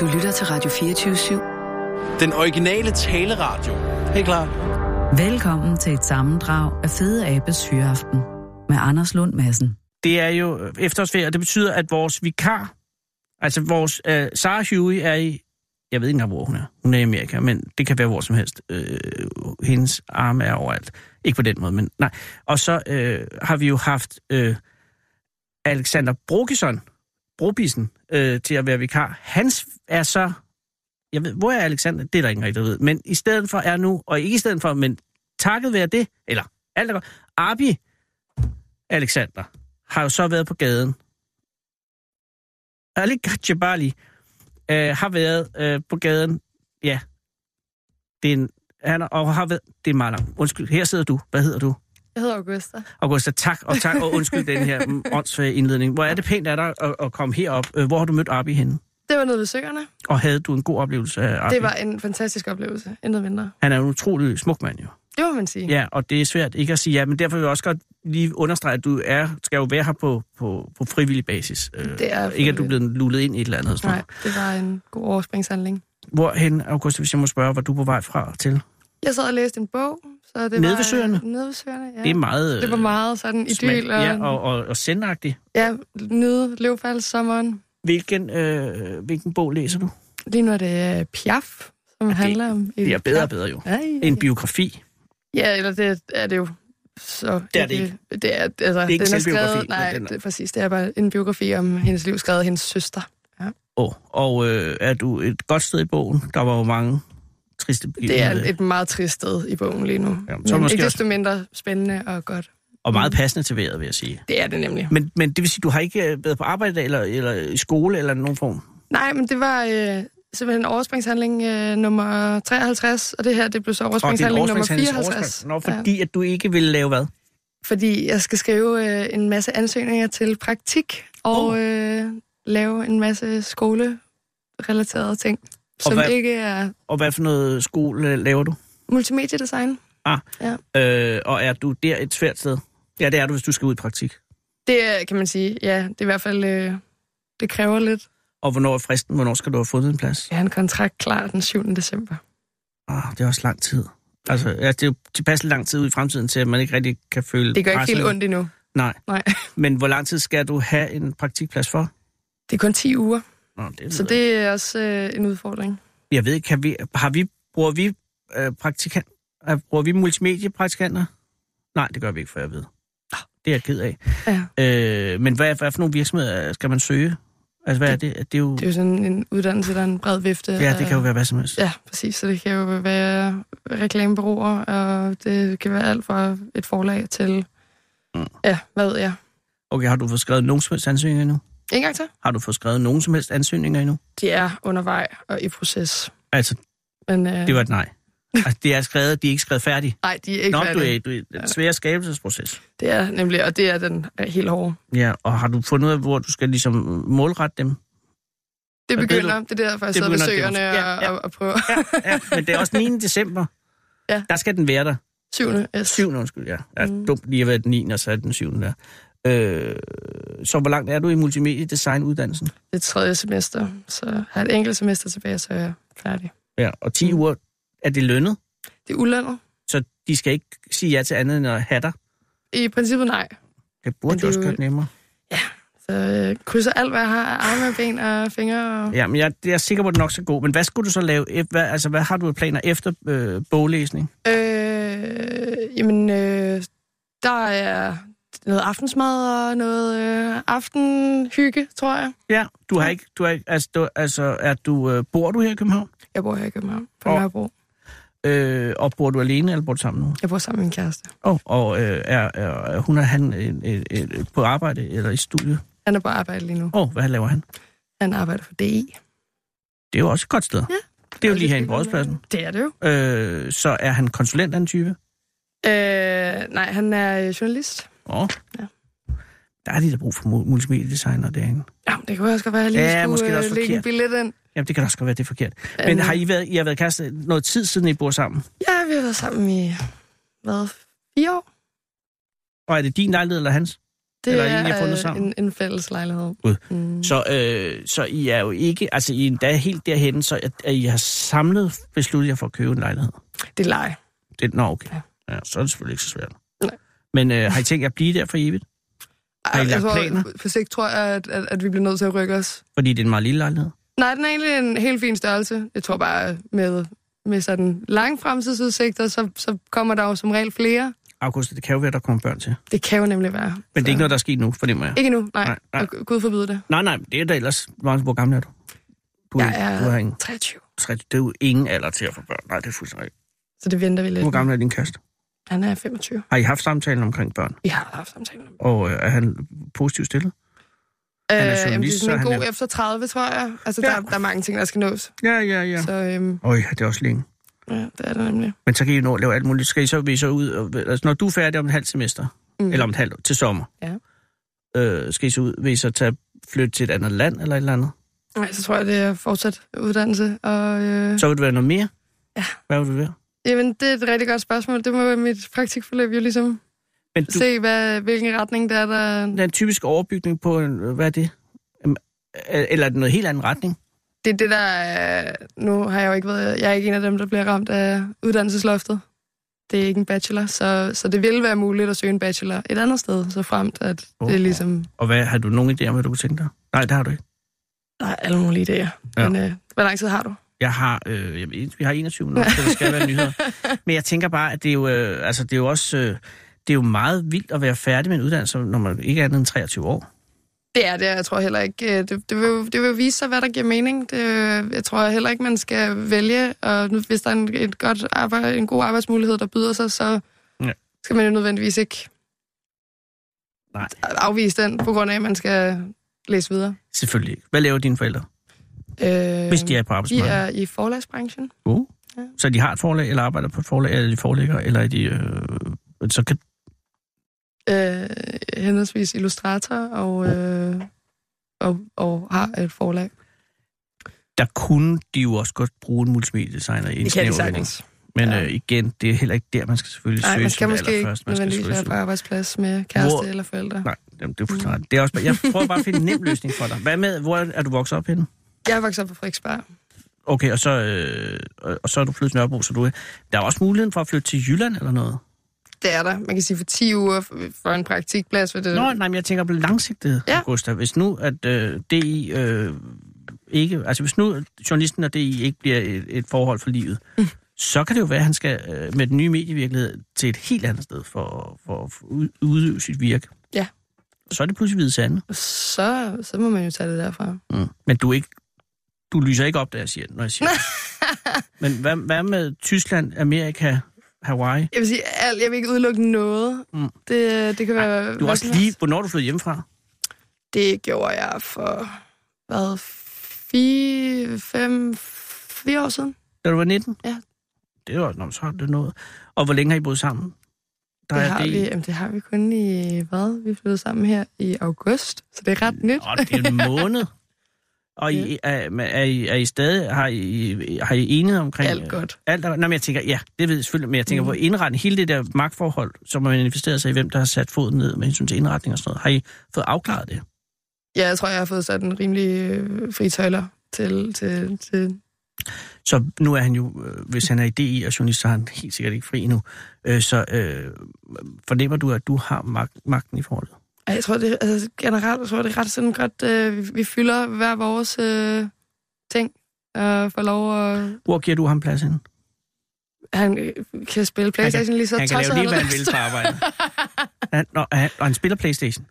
Du lytter til Radio 24-7. Den originale taleradio. Helt klar. Velkommen til et sammendrag af Fede Abes Hyreaften med Anders Lund Madsen. det er jo øh, efterårsferie, og det betyder, at vores vikar, altså vores øh, Sarah Huey er i, jeg ved ikke engang, hvor hun er. Hun er i Amerika, men det kan være hvor som helst. Øh, hendes arme er overalt. Ikke på den måde, men nej. Og så øh, har vi jo haft øh, Alexander Brokison, Brobissen, øh, til at være vikar. Hans er så... Jeg ved, hvor er Alexander? Det er der ingen rigtig, der ved. Men i stedet for er nu, og ikke i stedet for, men takket være det, eller alt er godt, Arbi Alexander har jo så været på gaden. Ali Gajabali øh, har været øh, på gaden. Ja. Det er en, han er, og har været, det er meget langt. Undskyld, her sidder du. Hvad hedder du? Jeg hedder Augusta. Augusta, tak og tak, og undskyld den her mm, åndssvage indledning. Hvor er det pænt af dig at, at komme herop. Øh, Hvor har du mødt Arbi henne? Det var noget ved søgerne. Og havde du en god oplevelse af Arbi? Det var en fantastisk oplevelse. Intet mindre. Han er en utrolig smuk mand jo. Det må man sige. Ja, og det er svært ikke at sige ja, men derfor vil jeg også godt lige understrege, at du er, skal jo være her på, på, på frivillig basis. Øh, Det er Ikke at du er frivilligt. blevet lullet ind i et eller andet. Sådan Nej, det var en god overspringshandling. Hvorhen, August, hvis jeg må spørge, var du på vej fra til? Ja. Jeg sad og læste en bog, så det Nede var... ved søerne? Nede ved søerne, ja. Det er meget... det var meget sådan øh, smalt. idyl og, Ja, og, og, og sendagtigt. ja, nyde løvfaldssommeren. Hvilken, øh, hvilken bog læser du? Lige nu er det øh, Piaf, som handler om... Det er bedre og bedre jo. Ja, ja. En biografi. ja, eller det er det jo så Det er det ikke. Det er, altså, det ikke en den er selvbiografi, men skrevet, nej, den er- det er præcis. Det er bare en biografi om hendes liv, skrevet af hendes søster. Oh, og øh, er du et godt sted i bogen? Der var jo mange triste Det er begivenheder. et meget trist sted i bogen lige nu. så Men måske også- ikke desto mindre spændende og godt. Og meget passende til vejret, vil jeg sige. Det er det nemlig. Men, men det vil sige, du har ikke øh, været på arbejde i dag, eller, eller i skole eller nogen form? Nej, men det var øh, simpelthen overspringshandling øh, nummer 53, og det her det blev så overspringshandling nummer overspringshandlings- 54. oversprings- Nå, fordi ja. at du ikke ville lave hvad? fordi jeg skal skrive øh, en masse ansøgninger til praktik og Oh. øh, lave en masse skolerelaterede ting, som hvad- ikke er Og hvad for noget skole øh, laver du? multimediedesign. Øh, og er du der et svært sted? Ja, det er du, hvis du skal ud i praktik. Det er, kan man sige, ja, det er i hvert fald... Øh, det kræver lidt. Og hvornår er fristen? Hvornår skal du have fundet en plads? Jeg har en kontrakt klar den 7. december. Ah, det er også lang tid. Altså, ja, det er jo tilpas lang tid ud i fremtiden til, at man ikke rigtig kan føle Det gør ikke presset. helt ondt endnu. Nej. Nej. Men hvor lang tid skal du have en praktikplads for? Det er kun 10 uger, Nå, det så ved jeg. det er også øh, en udfordring. Jeg ved ikke, kan vi, har vi, bruger vi øh, praktikant, øh, bruger vi multimediepraktikanter? Nej, det gør vi ikke, for jeg ved. Det er jeg ked af. Ja. Øh, men hvad, hvad for nogle virksomheder skal man søge? Altså, hvad er det? Det er jo... Det er jo sådan en uddannelse, der er en bred vifte. Ja, det af- kan jo være hvad som helst. Ja, præcis. Så det kan jo være reklamebureauer, og det kan være alt fra et forlag til... Mm. Ja, hvad ved jeg? Okay, har du fået skrevet nogen som helst ansøgninger endnu? En gang til. Har du fået skrevet nogen som helst ansøgninger endnu? De er undervej og i proces. Altså, Men øh, det var et nej. Altså, det er skrevet, de er ikke skrevet færdigt. nej, de er ikke Nå, du færdige. er, du er den svære skabelsesproces. Det er nemlig, og det er den øh, helt hårde. Ja, og har du fundet ud af, hvor du skal ligesom målrette dem? Det Og det- begynder, det, er derfor, det jeg sidder med begynder- søgerne det- og, ja, ja. og, og prøver. Ja, men det er også 9. december. Ja. Der skal den være der. Syvende. Yes. 7. undskyld, ja. ja Mm. Dumt lige at være den 9. og så er den 7. der. Øh, så hvor langt er du i multimediedesign-uddannelsen? Det er tredje semester, så har jeg et enkelt semester tilbage, så er jeg færdig. Ja, og 10 Mm. uger, er det lønnet? Det er ulønnet. Så de skal ikke sige ja til andet end at have dig. I princippet nej. Det Men burde det jo er også jo- gøre det nemmere. Så øh, krydser alt, hvad jeg har af arme, ben og fingre. Og... Ja, men jeg, jeg er sikker på, at det nok skal gå. Men hvad skulle du så lave? ef- Hvad, altså, hvad har du af planer efter øh, boglæsning? Øh, jamen, øh, der er noget aftensmad og noget øh, aftenhygge, tror jeg. Ja, du har ikke... Du har ikke altså, du, altså er du, øh, bor du her i København? Jeg bor her i København på Og- Nørrebro. Øh, og bor du alene, eller bor du sammen med nogen? Jeg bor sammen med min kæreste. Oh, og øh, er, er, er hun og han øh, øh, øh, på arbejde eller i studiet? Han er på arbejde lige nu. Åh, oh, hvad laver han? Han arbejder for DI. Det er jo også et godt sted. Ja. Det er jo lige her i Rådspladsen. Det er det jo. Øh, så er han konsulent af en type? Øh, nej, han er journalist. Åh. Oh. Ja. Der er lige der brug for mu- multimediedesigner derinde. Ja, det kunne også godt være, at jeg lige Ja, måske er skulle det også øh, lægge en billet ind. Øh, Jamen, det kan da også godt være, det er forkert. Men Øhm. har I, været, I har været kæreste noget tid siden, I bor sammen? Ja, vi har været sammen i, hvad, fire år? Og er det din lejlighed eller hans? det Eller en, I er har fundet øh, sammen? en, en fælles lejlighed. Gud. Mm. Så, øh, så I er jo ikke, altså I er endda helt derhen, så at, at I har samlet besluttet jer for at købe en lejlighed. Det er leje. Det, nå, okay. Ja. Ja, så er det selvfølgelig ikke så svært. Nej. Men øh, har I tænkt jer at blive der for evigt? Har I lagt planer? På sigt tror jeg, at, at, at vi bliver nødt til at rykke os. Fordi det er en meget lille lejlighed. Nej, den er egentlig en helt fin størrelse. Jeg tror bare, med, med sådan lange fremtidsudsigter, så, så kommer der jo som regel flere. August, det kan jo være, der kommer børn til. Det kan jo nemlig være. Men det er Så- ikke noget, der er sket nu, fornemmer jeg. Ikke nu, nej. Nej, nej, nej. nej. Og Gud- Gud forbyde det. Nej, nej, det er da ellers... Hvor hvor gammel er du? Du, Jeg du har er ingen, 23, tre- det er jo ingen alder til at få børn. Nej, det er fuldstændig rigtigt. så det venter vi lidt. Hvor gammel er din kæreste? Han er 25. Har I haft samtalen omkring børn? Vi har haft samtalen. Øh, Og øh, er han positivt stillet? er jamen, det journalist, er så sådan en han god er- efter 30, tror jeg. Altså, Ja. der, der er mange ting, der skal nås. Ja, ja, ja. Ja. Så øhm, Øj, det er også længe. ja, det er der nemlig. Men så kan I nå at lave alt muligt. Skal I så, vil I så ud... Og, altså, når du er færdig om et halvt semester, mm. Mm. eller om et halvt år, til sommer, Ja. øh, skal I så ud, vil I så tage, flytte til et andet land eller et eller andet? Nej, så tror jeg, det er fortsat uddannelse. Og, øh, Så vil det være noget mere? Ja. Hvad vil du være? jamen, det er et rigtig godt spørgsmål. Det må være mit praktikforløb jo ligesom Men du... du, se, hvad, hvilken retning det er, der... den typiske overbygning på... en- Hvad er det? Øhm, Eller er det noget helt anden retning? Det er det, der... er- Nu har jeg jo ikke været... Jeg er ikke en af dem, der bliver ramt af uddannelsesloftet. Det er ikke en bachelor, så, så det ville være muligt at søge en bachelor et andet sted, så fremt, at Okay. det er ligesom... Og hvad, har du nogen idé om, hvad du kunne tænke dig? Nej, det har du ikke. Der er alle mulige idéer. Ja. Ja. Men øh, hvor lang tid har du? Jeg har, øh, jeg ved, vi har 21 minutter, så der skal være nyheder. Men jeg tænker bare, at det er jo, øh, altså, det er jo også... Øh, det er jo meget vildt at være færdig med en uddannelse, når man ikke er andet end 23 år. Det er det, og jeg tror heller ikke. øh, Det, det, vil, jo- det vil jo vise sig, hvad der giver mening. Det, øh, jeg tror heller ikke, man skal vælge, og nu, hvis der er en, et godt arbejde, en god arbejdsmulighed, der byder sig, så Ja. ja. skal man jo nødvendigvis ikke Nej. afvise den, på grund af, at man skal læse videre. Selvfølgelig ikke. Hvad laver dine forældre, Øh, hvis de er på de arbejdsmarkedet? er i forlagsbranchen. Uh. Ja. Så de har et forlag, eller arbejder på et forlag, eller er de forlægger, eller er de... Øh, så kan, Øh, henholdsvis illustrator og, øh, og, og har et forlag. der kunne de jo også godt bruge en multimediedesigner i en snæver vending. Men Ja. øh, igen, det er heller ikke der, man skal selvfølgelig Nej, søge man skal som måske ikke allerførst. Man skal nødvendigvis selvfølgelig være søge- på arbejdsplads med kæreste Hvor- eller forældre. Nej, jamen, det er fuldstændig. ret. Det er også, bare- jeg prøver bare at finde en nem løsning for dig. Hvad med, hvor er du vokset op henne? Jeg er vokset op på Frederiksberg. Okay, og så, øh, og- og så er du flyttet til Nørrebro, så du er... Der er også muligheden for at flytte til Jylland eller noget. Det er der. Man kan sige, for 10 uger f- for en praktikplads, for det Nå, nej, men jeg tænker på langsigtet, Øh. ja. Ja. Augusta. Hvis nu, at øh, DI øh, ikke... Altså, hvis nu journalisten og DI ikke bliver et, et forhold for livet, mm. så kan det jo være, at han skal øh, med den nye medievirkelighed til et helt andet sted for, for at ud- udøve sit virke. Ja. Så er det pludselig hvide sande. så, så må man jo tage det derfra. Mm. Men du er ikke... Du lyser ikke op, da jeg siger, når jeg siger det. Men hvad, hvad med Tyskland, Amerika, Hawaii? Jeg vil sige, alt, jeg vil ikke udelukke noget. Mm. Mm. Det, det kan Du være... hvad er også som helst. lige... Hvornår er du flyttede hjemmefra? Det gjorde jeg for, hvad, fire, fem, fire år siden. Da du var 19? Ja. Det var... Nå, men så har det noget. Og hvor længe har I boet sammen? Der det, er har det... vi, jamen, det har vi kun i, hvad, vi flyttede sammen her i august, så det er ret nyt. Nå, det er en måned. Og I, er, men er, I, er I stadig... Har I, har I enighed omkring... Alt godt. Alt er, Nå, men jeg tænker, ja, det ved jeg selvfølgelig, men jeg tænker mm. på indretning. Hele det der magtforhold, som har manifesteret sig i, hvem der har sat foden ned med hensyn til indretning og sådan noget. Har I fået afklaret det? Ja, jeg tror, jeg har fået sådan en rimelig øh, fri tøjler til, til, til... Så nu er han jo, øh, hvis han er i DI og journalist, så er han helt sikkert ikke fri endnu. Øh, så øh, fornemmer du, at du har mag- magten i forholdet? Ej, Jeg tror, det, altså, generelt jeg tror jeg, det er ret sådan godt, øh, vi- vi fylder hver vores øh, ting og får lov at... Hvor giver du ham plads hen? Han øh, kan spille Playstation lige så han kan tosset lave lige, hvad han lyst. vil på arbejde. Han, og, han, og han spiller Playstation.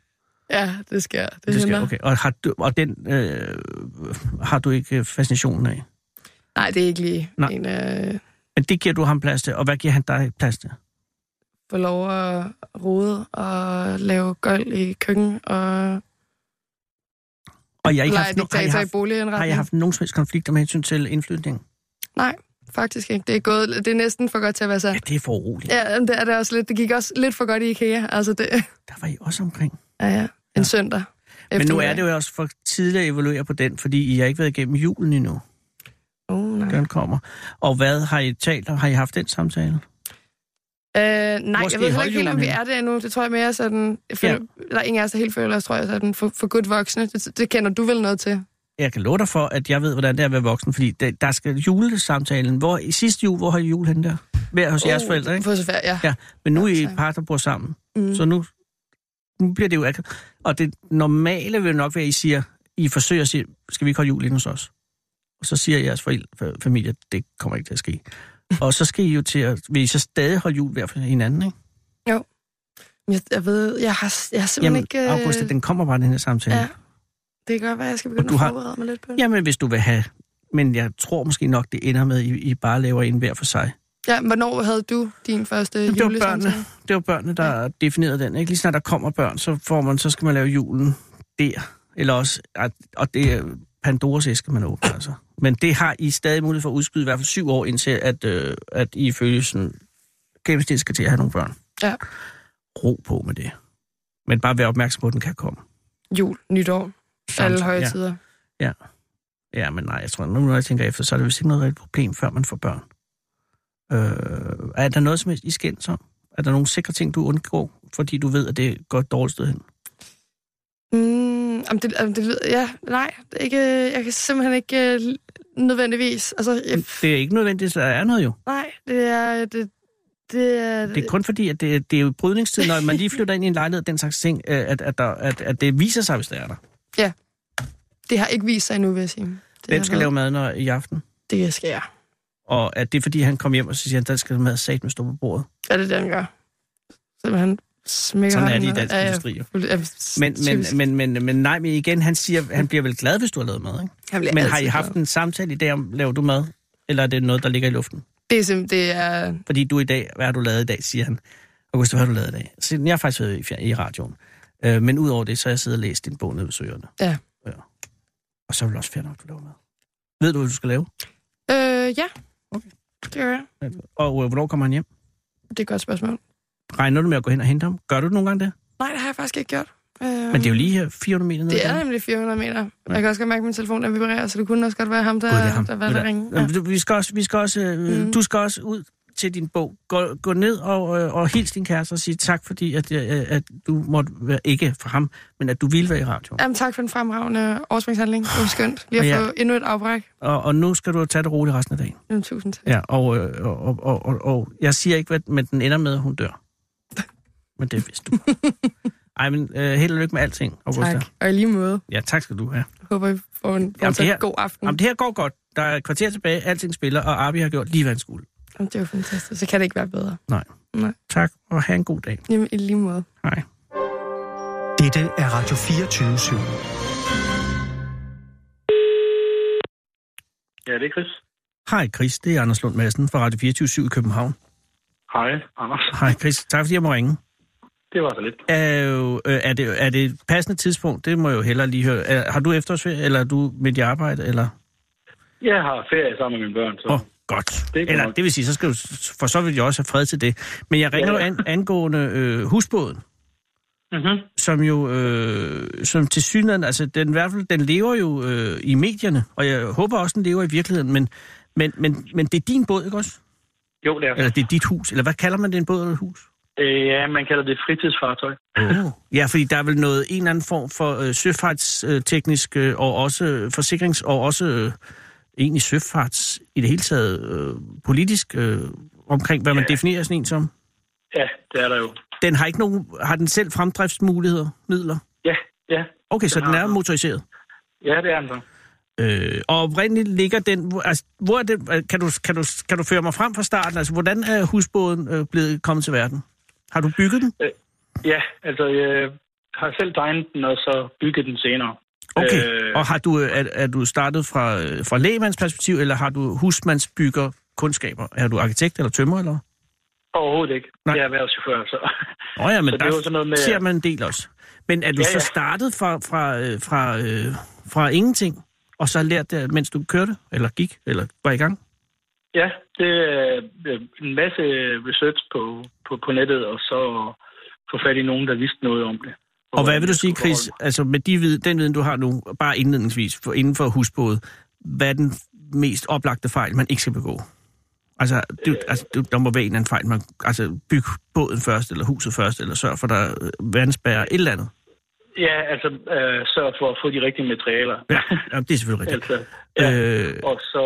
Ja, det sker. Det, Det skal, hænder. okay. Og, har du, og den øh, har du ikke øh, fascinationen af. Nej, det er ikke lige Nej. Nej. en øh, Men det giver du ham plads til, og hvad giver han dig plads til? få lov at rode og lave gulv i køkken og Og jeg har ikke lege haft, no- har, I diktator i haft, har boligindretning. jeg haft nogen som helst konflikter med hensyn til indflytning? Nej, faktisk ikke. Det er, gået, det er næsten for godt til at være Ja, sandt. det er for uroligt. Ja. Ja, jamen, det er det også lidt. Det gik også lidt for godt i IKEA. Altså det, Der var I også omkring. ja, ja. En Ja. søndag. Men nu er eftermiddag. det jo også for tidligt at evaluere på den, fordi I har ikke været igennem julen endnu. Oh, nej. Den kommer. Og hvad har I talt om? Har I haft den samtale? Øh, nej, Måske Måske jeg ved heller ikke helt, højjulen om vi henne. er det endnu. Det tror jeg mere sådan... Jeg føler, ja. Der er ingen af os, der helt føler os, tror jeg, sådan for, for godt voksne. Det, det kender du vel noget til? Jeg kan love dig for, at jeg ved, hvordan det er at være voksen, fordi det, der skal julesamtalen. Hvor, I sidste jul, hvor har I jul henne der? Hver hos oh, jeres forældre, ikke? Uh, På Sofia, ja. Ja, men nu er I Ja, et tak. par, der bor sammen. Mm. Så nu, nu bliver det jo akavet. Og det normale vil nok være, at I siger, I forsøger at sige, skal vi ikke holde jul inde hos os? Og så siger jeres forældre, fa- familie, at det kommer ikke til at ske. Og så skal I jo til at, vil I så stadig holde jul hver for hinanden, ikke? Jeg, jeg ved, jeg har, jeg har simpelthen Jamen, ikke... øh, Augusta, den kommer bare, den her samtale. Ja. Det kan godt være, jeg skal Og begynde du at har- forberede mig lidt på det. Jamen, hvis du vil have... Men jeg tror måske nok, det ender med, at I, I bare laver en hver for sig. Ja, hvornår havde du din første Det var julesamtale? børnene, det var børnene der ja. definerede den. Ikke? Lige snart der kommer børn, så, får man, så skal man lave julen der. Eller også, at, og det er Pandoras æske, man åbner altså. Men det har I stadig mulighed for at udskyde i hvert fald syv år, indtil at, øh, at I følge sådan, gennemsnit skal til at have nogle børn. Ja. Ro på med det. Men bare vær opmærksom på, at den kan komme. Jul, nytår, alle højtider. Ja. Ja, men nej, jeg tror, nu når jeg tænker efter, så er det vist ikke noget rigtigt problem, før man får børn. Øh, er der noget, som I skændes om? Er der nogle sikre ting, du undgår, fordi du ved, at det går et dårligt sted hen? Mm, om det, om det, ved- ja, nej, det er ikke, øh, jeg kan simpelthen ikke øh, nødvendigvis. Altså, jeg, Det er ikke nødvendigt, at der er noget jo. nej, det er... Det, det, er, Det er kun fordi, at det, det er jo brydningstid, når man lige flytter ind i en lejlighed, den slags ting, øh, at, at, der, at, at det viser sig, hvis det er der. det har ikke vist sig endnu, vil jeg sige. Det Hvem har skal været- lave mad når, i aften? Det skal jeg. Og er det, fordi han kom hjem og så siger, at der skal mad sat med stå på bordet? Ja, det er det, han gør. Simpelthen smækker Sådan er hånden det i ned. dansk Ja, ja. industri. jo. Ja, Men, men, typisk. men, men, men nej, men igen, han, siger, han bliver vel glad, hvis du har lavet mad, ikke? Han bliver Men har I altid haft glad. en samtale i dag om, laver du mad? Eller er det noget, der ligger i luften? Det er simpelthen, det er... Fordi du i dag, hvad har du lavet i dag, siger han. August, hvad har du lavet i dag? Så jeg har faktisk været i, fjer- i radioen. Øh, men udover det, så har jeg siddet og læst din bog nede ved søerne. Ja. ja. Og så er det også fair nok, du laver mad. Ved du, hvad du skal lave? Øh, ja. Okay. Det gør jeg. Og øh, hvornår kommer han hjem? Det er et godt spørgsmål. Regner du med at gå hen og hente ham? Gør du det nogle gange det? Nej, det har jeg faktisk ikke gjort. Øh, Men det er jo lige her 400 meter nede. det ad er gaden. nemlig 400 meter. Ja. Jeg kan også godt mærke, at min telefon den vibrerer, så det kunne også godt være ham, der, Gud, det er ham. der var Ved der du- ringe. Ja. Jamen, du- Vi skal også, vi skal også, øh, Mm. du skal også ud til din bog. Gå, gå ned og, øh, og hils din kæreste og sige tak, fordi at, øh, at du måtte være, ikke for ham, men at du ville være i radioen. Jamen, tak for den fremragende overspringshandling. Det var skønt. Lige Ja. at få endnu et afbræk. Og, og nu skal du tage det roligt resten af dagen. Jamen, tusind tak. Ja, og, øh, og, og, og, og, og jeg siger ikke, hvad, men den ender med, at hun dør. Men det vidste du. Ej, men øh, held og lykke med alting, Augusta. Tak. Mm. Og i lige måde Ja, tak skal du have. håber, I får en Jamen, det her- fortsat god aften. Jamen, det her går godt. Der er et kvarter tilbage, alting spiller, og Arbi har gjort lige, hvad han skulle. Jamen, det var fantastisk. Så kan det ikke være bedre. Tak, og have en god dag. Jamen, i lige måde. Hej. Dette er Radio 24 /7. Ja, det er Chris. Hej Chris, det er Anders Lund Madsen fra Radio 24 i København. Hej, Anders. Hej Chris, tak fordi jeg må ringe. Det var så lidt. Er, jo, øh, er, det, er det et passende tidspunkt? Det må jeg jo hellere lige høre. Er, har du efterårsferie, eller er du midt i arbejde? Eller? Jeg har ferie sammen med mine børn, så Åh, oh, godt. Det er Det godt eller nok. det vil sige, så skal du, s- for så vil jeg også have fred til det. Men jeg ringer jo Ja. an, angående øh, husbåden, mm-hmm. som jo øh, som til synligheden, altså den, i hvert fald, den lever jo øh, i medierne, og jeg håber også, den lever i virkeligheden, men, men, men, men det er din båd, ikke også? jo, det er. Eller det er dit hus, eller hvad kalder man det, en båd eller et hus? Øh, ja, man kalder det fritidsfartøj. Oh. Ja, fordi der er vel noget, en eller anden form for øh, søfartsteknisk øh, og også øh, forsikrings- og også øh, egentlig søfarts i det hele taget øh, politisk øh, omkring, hvad man Ja. definerer sådan en som. Ja, det er der jo. Den har ikke nogen, har den selv fremdriftsmuligheder, midler? Ja, ja. Okay, så Den den har er den. motoriseret. Ja, det er den så. Øh, og oprindeligt ligger den, hvor- altså, hvor er det, kan du, kan, du, kan du føre mig frem fra starten? Altså, hvordan er husbåden øh, blevet kommet til verden? Har du bygget den? Ja, altså, jeg har selv tegnet den, og så bygget den senere. Okay, Øh, og har du, øh, er, er du startet fra, øh, fra lægemandsperspektiv, eller har du husmandsbygger kundskaber? Er du arkitekt eller tømmer, eller? Overhovedet ikke. Nej. Nej. Jeg er erhvervschauffør, så... Nå ja, men Så det der er jo sådan noget med- ser man en del også. Men er du Ja, så ja. startet fra, fra, øh, fra, øh, fra ingenting, og så har lært det, mens du kørte, eller gik, eller var i gang? ja, det er øh, en masse research på, på, på nettet, og så få fat i nogen, der vidste noget om det. Og hvad vil du jeg sige, skulle Chris, altså med de vid- den viden, du har nu, bare indledningsvis, for, inden for husbåde, hvad er den mest oplagte fejl, man ikke skal begå? Altså, det, altså det, der må være en eller anden fejl. Man, altså, byg båden først, eller huset først, eller sørg for, der er vandspærrer, et eller andet. Ja, altså øh, sørg for at få de rigtige materialer. Ja, ja det er selvfølgelig rigtigt. altså, ja. Øh, Og så,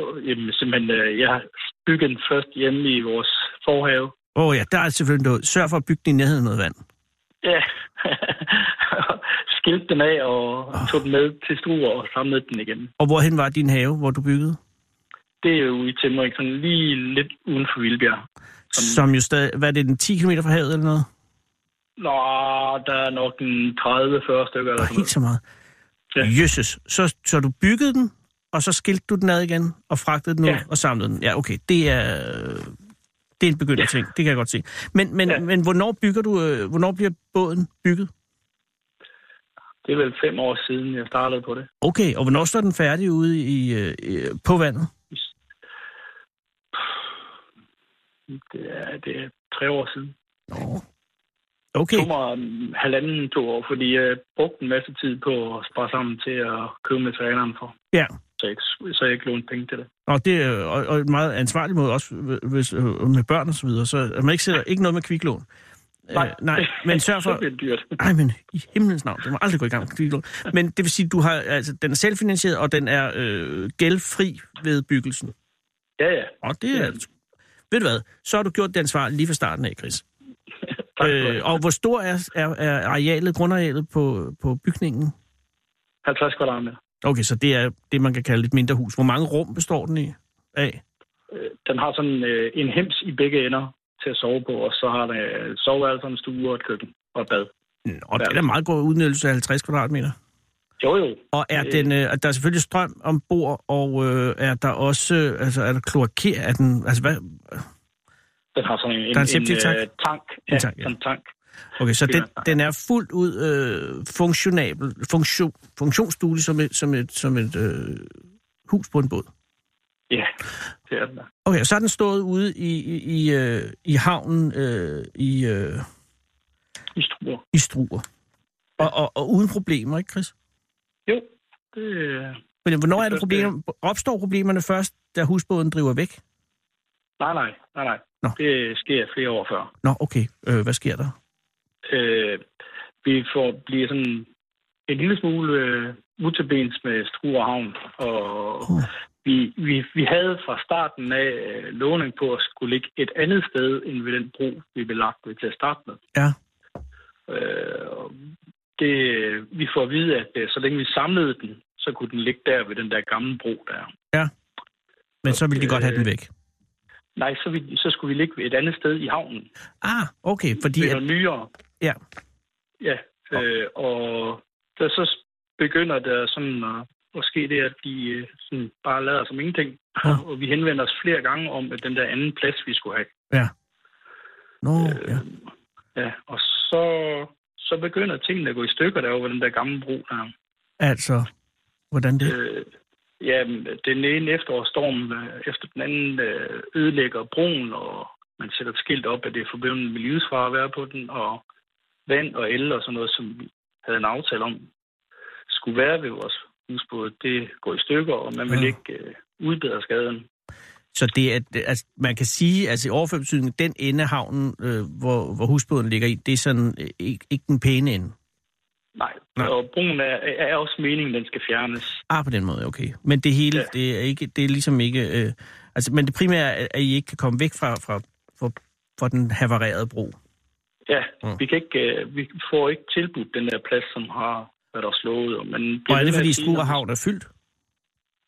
øh, jamen, simpelthen, øh, jeg har bygget den først hjemme i vores forhave. åh ja, der er selvfølgelig noget. Sørg for at bygge den i nærheden af noget vand. Ja. Skilte den af og tog den med til stuer og samlede den igen. Og hvorhen var din have, hvor du byggede? Det er jo i Timmering, sådan lige lidt uden for Vildbjerg. Som jo stadig, hvad er det, den 10 km fra havet eller noget? Nå, der er nok en 30-40 stykker eller Og sådan helt noget. så meget. Ja. Jøsses. Så, så du byggede den, og så skilte du den ad igen, og fragtede den ud, Ja. og samlede den. Ja, okay. Det er, øh, det er en begynderting. Det kan jeg godt se. Men, men, Ja. men hvornår, bygger du, øh, hvornår bliver båden bygget? Det er vel fem år siden, jeg startede på det. Okay, og hvornår står den færdig ude i, øh, i, på vandet? Det er, det er tre år siden. Nå. Det Okay, tog mig mm, halvanden, to år, fordi jeg brugte en masse tid på at spare sammen til at købe materialerne for. ja. Så jeg, ikke- så jeg ikke lånte penge til det. Og det er og, og en meget ansvarlig måde, også hvis, øh, med børn og så videre, så at man ikke sætter ikke noget med kviklån. Øh, nej, men sørg så for... bliver det dyrt. Ej, men i himlens navn, det må aldrig gå i gang med kviklån. Men det vil sige, du har, altså, den er selvfinansieret, og den er øh, gældfri ved byggelsen. Ja, ja. Og det er... Ja. Ved du hvad, så har du gjort det ansvarligt lige fra starten af, Chris. Tak for Øh, det. og hvor stor er, er, er arealet, grundarealet på, på bygningen? 50 kvadratmeter. Okay, så det er det, man kan kalde et mindre hus. Hvor mange rum består den i? af? Øh, Den har sådan øh, en hems i begge ender til at sove på, og så har den øh, soveværelse, en stue og et køkken og et bad. Nå, Og det er da meget god udnyttelse af 50 kvadratmeter. Jo, jo. Og er Øh. den, øh, der er selvfølgelig strøm ombord, og øh, er der også, øh, altså er der kloaker, er den, altså hvad, Den har sådan en, Der er en septic tank? øh, tank. En Ja, en tank, tank, ja. Sådan en tank. okay, så Det den, er altså- der. den er fuldt ud øh, funktionabel, funktion, funktionsduelig som et, som et, som et øh, hus på en båd. Ja, det er den der. Okay, og så har den stået ude i, i, i, øh, i havnen øh, i, øh, I struer. i Struer. Og, og, og uden problemer, ikke Chris? Jo, det, øh, Men hvornår er Det det er problemer? Opstår problemerne først, da husbåden driver væk? nej, nej, nej, nej. Nå. Det sker flere år før. Nå, okay. Øh, hvad sker der? øh, vi får bliver sådan en lille smule øh, utabens med Struer Havn. Og Åh. vi, vi, vi havde fra starten af øh, lovning på at skulle ligge et andet sted end ved den bro, vi blev lagt ved til at starte med. Ja. Øh, og det, vi får at vide, at øh, så længe vi samlede den, så kunne den ligge der ved den der gamle bro der. Men så Øh, vil de godt have den væk. Nej, så, vi, så skulle vi ligge et andet sted i havnen. Ah, okay, fordi... Det At, er noget nyere. ja, Ja, øh, og der så begynder der sådan at, at ske det, at de øh, sådan bare lader som ingenting. Ja. Og vi henvender os flere gange om at den der anden plads, vi skulle have. nå, øh, ja. Ja, og så, så begynder tingene at gå i stykker derovre ved den der gamle bro der. Altså, hvordan det... Øh, ja, den ene efterårsstorm øh, efter den anden øh, ødelægger broen, og man sætter et skilt op, at det er forbundet med livsfare at være på den, og vand og el og sådan noget, som vi havde en aftale om, skulle være ved vores husbåd, det går i stykker, og man vil Ja. ikke øh, udbedre skaden. Så det er, det- altså, man kan sige, altså i overført betydning, den ende af havnen, øh, hvor, hvor husbåden ligger i, det er sådan øh, ikke, ikke den pæne ende. Nej, Nej. Nej. og broen er, er også meningen, den skal fjernes. Ah, på den måde, okay. Men det hele, Ja. det er ikke, det er ligesom ikke, øh, altså, men det primære er, at I ikke kan komme væk fra, fra, fra, fra den havarerede bro. Ja, Mm. mm. vi, kan ikke, øh, vi får ikke tilbudt den der plads, som har været os lovet. Og, man Og bliver er ved det, med at fordi sige- Struer Havn er fyldt?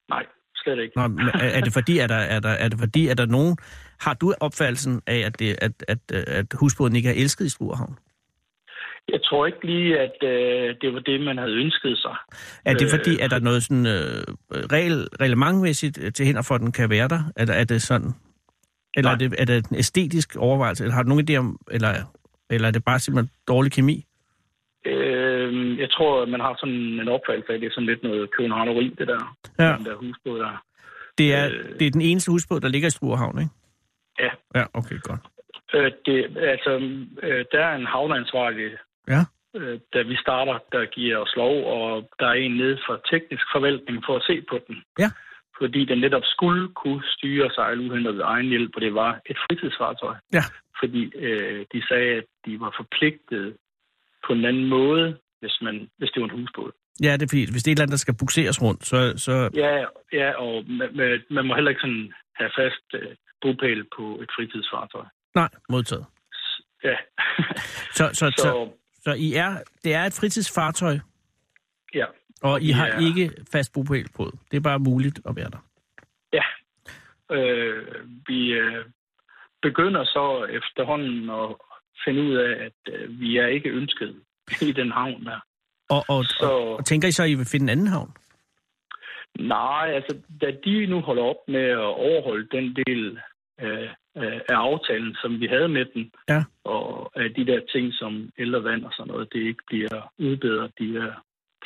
Nej, slet ikke. Nå, men er, er det fordi, er der, er der, er det fordi, er der nogen, har du opfattelsen af, at, det, at, at, øh, at husbåden ikke er elsket i Struer Havn? Jeg tror ikke lige, at øh, det var det, man havde ønsket sig. Er det Øh, fordi, at der er noget sådan øh, regel, reglementmæssigt øh, til hinder for, at den kan være der? Er, der- er det sådan? Eller er Nej. det, er det en æstetisk overvejelse? Eller har du nogen idé om, eller, eller er det bare simpelthen dårlig kemi? Øh, jeg tror, at man har sådan en opfattelse af, at det er sådan lidt noget københavneri, det der, Ja. ja. den der husbåd der. Det er, Øh. det er den eneste husbåd, der ligger i Struer Havn, ikke? Ja. Ja, okay, godt. Øh, det, altså, øh, der er en havneansvarlig, Ja. øh, da vi starter, der giver os lov, og der er en nede fra teknisk forvaltning for at se på den. Ja. fordi den netop skulle kunne styre og sejle uhindret ved egen hjælp, og det var et fritidsfartøj. Ja. Fordi øh, de sagde, at de var forpligtet på en anden måde, hvis, man, hvis det var en husbåd. Ja, det er fordi, hvis det er et eller andet, der skal bukseres rundt, så... så Ja, ja og man, man- man må heller ikke sådan have fast øh, bopæl på et fritidsfartøj. nej, modtaget. S- Ja, Så, så, så, så, så så I er, det er et fritidsfartøj, ja, og I har Ja. ikke fast bopæl på. Det er bare muligt at være der. øh, vi øh, begynder så efterhånden at finde ud af, at øh, vi er ikke ønsket i den havn der. Og, og, Så- og, og tænker I så, at I vil finde en anden havn? Nej, altså da de nu holder op med at overholde den del øh, øh, af aftalen, som vi havde med dem, Ja. og at de der ting som ældrevand og sådan noget, det ikke bliver udbedret, de der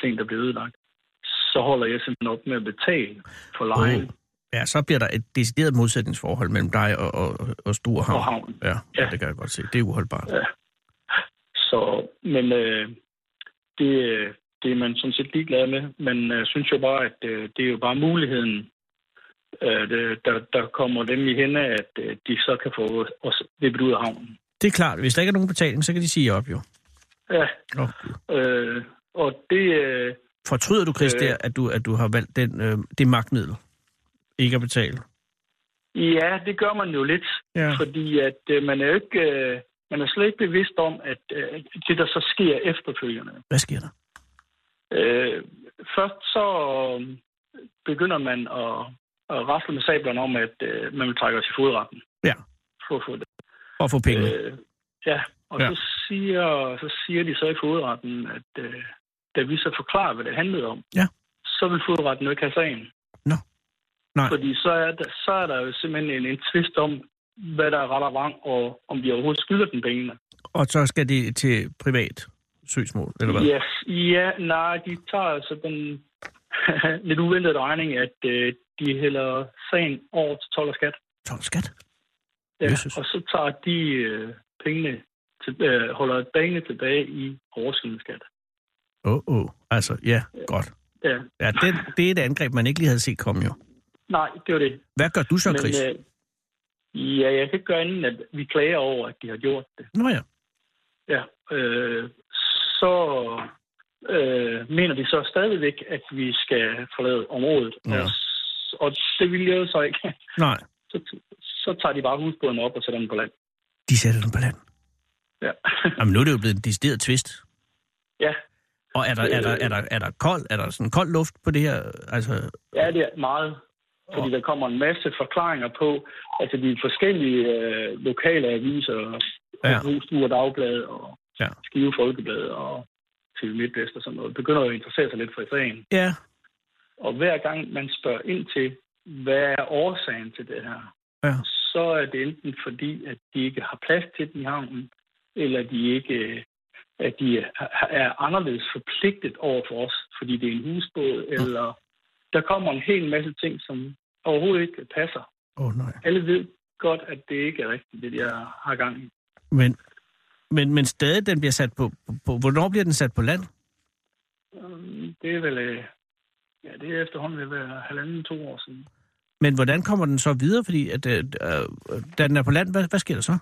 ting, der bliver ødelagt, så holder jeg simpelthen op med at betale for lejen Uh. Ja, så bliver der et decideret modsætningsforhold mellem dig og, og, og Stor og Havn. havnen. Ja, ja, Ja. det kan jeg godt se. Det er uholdbart. Så, men øh, det, øh, det er man sådan set ligeglad med. Man øh, synes jo bare, at øh, det er jo bare muligheden, øh, det, der, der kommer dem i hende, at øh, de så kan få os vippet ud af havnen. Det er klart, hvis der ikke er nogen betaling, så kan de sige op jo. Ja, Nå, Gud. øh, og det... Øh, Fortryder du, Chris, Øh. der, at du, at du har valgt den, øh, det magtmiddel? Ikke at betale? Ja, det gør man jo lidt, Ja. ja. fordi at øh, man er jo ikke, øh, man er slet ikke bevidst om, at øh, det der så sker efterfølgende. Hvad sker der? Øh, først så øh, begynder man at, at rasle med sablerne om, at øh, man vil trække os i fodretten. Ja. For at få det. For at få penge. Øh. Øh, ja, og Ja. ja. Så, siger, så siger de så i fodretten, at øh, da vi så forklarer, hvad det handlede om, Ja. så vil fodretten jo ikke have sagen. Nå. Nej. Fordi så er, der, så er der jo simpelthen en, en tvist om, hvad der er ret og vrang, og om vi overhovedet skylder den pengene. Og så skal det til privat søgsmål, eller hvad? Yes. Ja, nej, de tager altså den lidt uventede regning, at øh, de hælder sagen over til tolv og skat. Tom skat? Ja, Jesus. og så tager de øh, pengene til, øh, holder pengene tilbage i overskydende skat. Åh, oh, oh. altså, ja, godt. Ja. Ja, det, det er et angreb, man ikke lige havde set komme jo. Nej, det var det. Hvad gør du så, Chris? øh, ja, jeg kan ikke gøre andet, end at vi klager over, at de har gjort det. Nå ja. Ja, øh, så øh, mener de så stadigvæk, at vi skal forlade området. Ja. Og, s- og det vil jeg jo så ikke. Nej, så, så tager de bare husbåden op og sætter den på land. de sætter den på land. Ja. Jamen, nu er det jo blevet en decideret tvist. ja. Og er der, er der, er der, er der, kold, er der sådan kold luft på det her? Altså, ja, det er meget. Fordi der kommer en masse forklaringer på, altså de forskellige øh, lokale aviser, Ja. ja. Husduer Dagblad og Ja. ja. Skive Folkeblad og TV MidtVest og sådan noget, begynder jo at interessere sig lidt for sagen. ja, Og hver gang man spørger ind til, hvad er årsagen til det her, Ja. så er det enten fordi, at de ikke har plads til den i havnen, eller de ikke at de er- er anderledes forpligtet over for os, fordi det er en husbåd, eller der kommer en hel masse ting, som overhovedet ikke passer. åh oh, nej. Alle ved godt, at det ikke er rigtigt, det jeg har gang i. Men, men, men stadig, den bliver sat på, på, på... Hvornår bliver den sat på land? Øhm, Det er vel, øh, ja, det er efterhånden ved at være halvanden, to år siden. Men hvordan kommer den så videre? Fordi at, øh, øh, da den er på land, hvad, hvad sker der så?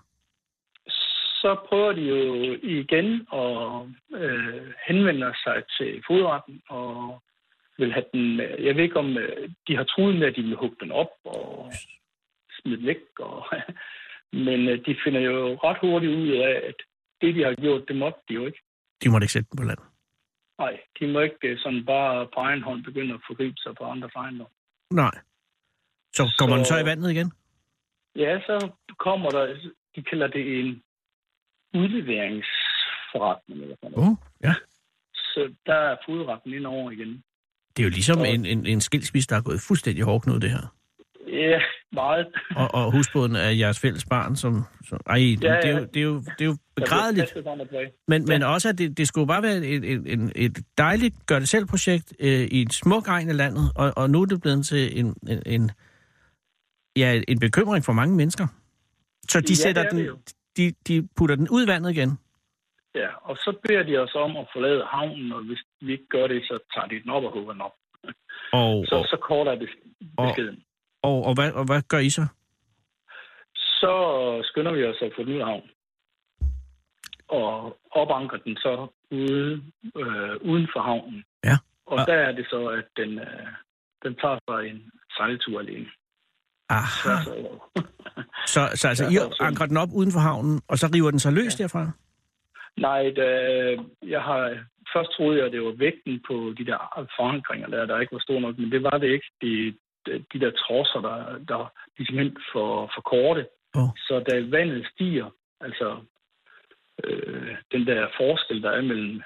så prøver de jo igen at øh, henvende sig til fodretten og vil have den... øh, Jeg ved ikke, om øh, de har truet med, at de vil hugge den op og smide den væk. Og, men øh, de finder jo ret hurtigt ud af, at det, de har gjort, det måtte de jo ikke. De måtte ikke sætte den på land. Nej, de må ikke øh, sådan bare på egen hånd begynde at forgribe sig på andres ejendom. Nej. Så kommer så... Så- den så i vandet igen? Ja, så kommer der... De kalder det en udleveringsforretning. Eller sådan noget. Uh, ja. Så der er fodretten ind over igen. Det er jo ligesom en, en, en skilsmisse, der er gået fuldstændig hårdknud, det her. Ja, meget. Og, og husbåden er jeres fælles barn, som... som ej, ja, ja. Det, er jo, det, er jo, det er jo begrædeligt. Jeg blev kastet frem og tilbage. Men, men også, at det, det skulle jo bare være et, et, et, et dejligt gør-det-selv-projekt øh, i en smuk egn af landet, og, og nu er det blevet til en, en, en, ja, en bekymring for mange mennesker. Så de, Ja, ja, sætter det er det den, jo. de, de putter den ud i vandet igen. Ja, og så beder de os om at forlade havnen, og hvis vi ikke gør det, så tager de den op og hugger den op. Og, Så, så kort er bes- Og- beskeden. og, og, hvad, og hvad gør I så? Så skynder vi os at få den ud af havn. Og opranker den så ude, øh, uden for havnen. Ja. Og der er det så, at den, øh, den tager sig en sejltur alene. Aha. Tværs over. Så, så altså, Ja, I der er sådan- anker den op uden for havnen, og så river den sig løs ja. derfra? Nej, da, jeg har, først troede jeg, at det var vægten på de der forankringer, der, der ikke var stor nok, men det var det ikke. De, de der trosser, der, der de er simpelthen for, for korte. Åh. Så da vandet stiger, altså øh, den der forskel, der er mellem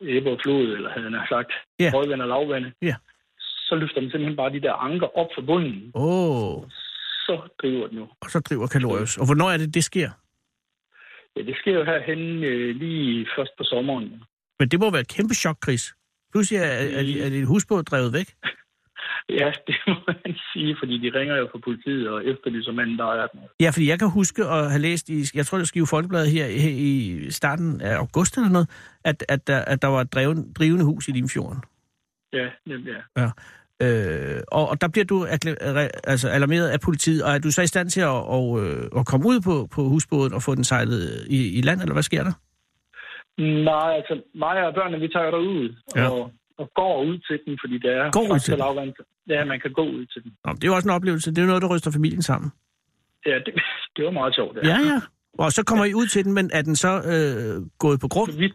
æbbe og flod, eller havde han sagt, Ja. yeah. højvand og lavvand, Ja. så løfter den simpelthen bare de der anker op fra bunden, Åh, oh, så driver den jo. og så driver Kalorius. Og hvornår er det, det sker? Ja, det sker jo herhen øh, lige først på sommeren. Men det må være et kæmpe chok, Chris. Pludselig er, er, Mm. er, er dit husbåd drevet væk. Ja, det må man sige, fordi de ringer jo fra politiet og efterlyser manden, der er den. Ja, fordi jeg kan huske at have læst i, jeg tror det var Skive Folkeblad her i, i starten af august eller noget, at, at, der, at der var et dreven, drivende hus i Limfjorden. Ja, nemlig. Ja. Øh, og, og der bliver du erklæ- re- altså alarmeret af politiet, og er du så i stand til at, og, øh, at komme ud på, på husbåden og få den sejlet i, i land, eller hvad sker der? Nej, altså mig og børnene, vi tager jo derud Ja. og, og går ud til den, fordi det er... Går ud faktisk til den? lavvand. Ja, man kan gå ud til den. Nå, men det er jo også en oplevelse, det er jo noget, der ryster familien sammen. Ja, det, det var meget sjovt. Ja, ja. Og så kommer I ud til den, men er den så øh, gået på grund? Vi,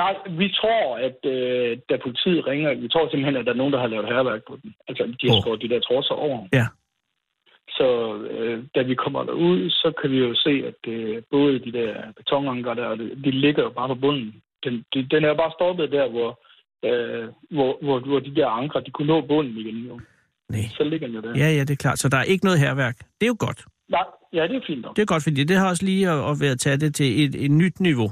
nej, vi tror, at øh, da politiet ringer, vi tror simpelthen, at der er nogen, der har lavet herværk på den. Altså, de har Åh. skåret de der trosser over. Ja. Så øh, da vi kommer derud, så kan vi jo se, at øh, både de der betonanker der, de ligger jo bare på bunden. Den, de, den er jo bare stoppet der, hvor, øh, hvor, hvor, hvor de der anker, de kunne nå bunden igen. Jo. Nej. Så ligger den jo der. Ja, ja, det er klart. Så der er ikke noget herværk. Det er jo godt. Nej, ja, det er fint nok. Det er godt, fordi det har også lige at, at være tage det til et, et nyt niveau.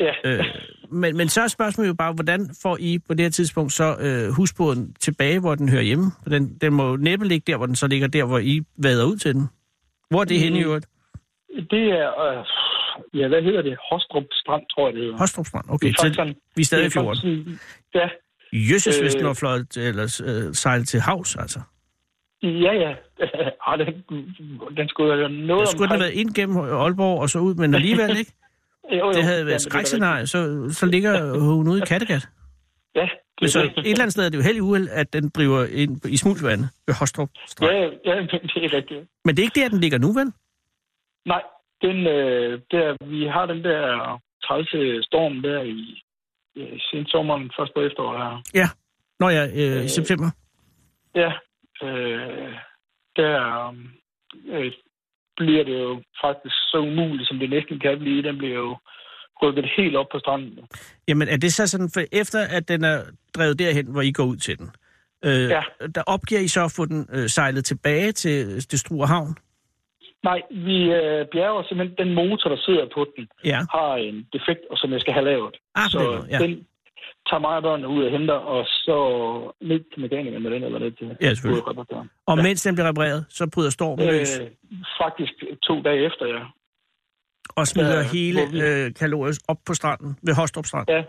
Ja. Øh, men, men så er spørgsmålet jo bare, hvordan får I på det her tidspunkt så øh, husbåden tilbage, hvor den hører hjemme? For Den, den må jo næppe ligge der, hvor den så ligger der, hvor I vader ud til den. Hvor er det henne i Mm. øvrigt? Det er, øh, ja, hvad hedder det? Hostrup Strand, tror jeg, det hedder. Hostrup Strand. Okay, Det er så faktisk sådan- vi er stadig i det er fjorden. faktisk sådan- Ja, Jøsses, hvis den Øh. var fløjet, eller øh, sejlet til havs, altså. ja, ja. Ej, den, den skulle jo noget Der skulle den have været ind gennem Aalborg og så ud, men alligevel ikke. Jo, jo. Det havde Jamen, været et er da rigtigt. skrækscenarie, så, så ligger hun ude i Kattegat. Ja, det Men er så rigtigt. et eller andet sted er det jo held i uheld, at den driver ind i smulvandet ved Hostrup Strand. Ja, Ja. ja, ja, men det er rigtigt. Men det er ikke der, den ligger nu, vel? Nej, den, øh, der, vi har den der trælse storm der i, i sen sommeren, først på efteråret her. Nå ja, øh, i Øh. september. Ja, øh, der øh, bliver det jo faktisk så umuligt, som det næsten kan blive. Den bliver jo rykket helt op på stranden. Jamen er det så sådan, for efter at den er drevet derhen, hvor I går ud til den, øh, ja. Ja. der opgiver I så at få den øh, sejlet tilbage til, til Struer Havn? Nej, vi øh, bjerger simpelthen den motor, der sidder på den, Ja. har en defekt, og som jeg skal have lavet. Ah, på så den måde, ja. den tager mig og børnene ud og henter, og så ned til mekanikeren med den, eller ned til Ja, selvfølgelig. hovedreparatøren. Og ja. mens den bliver repareret, så bryder stormen øh, løs Øh, faktisk to dage efter, ja. og smider øh, hele hvor vi- øh, kalorius op på stranden, ved Hostrup Strand. Ja. Ja,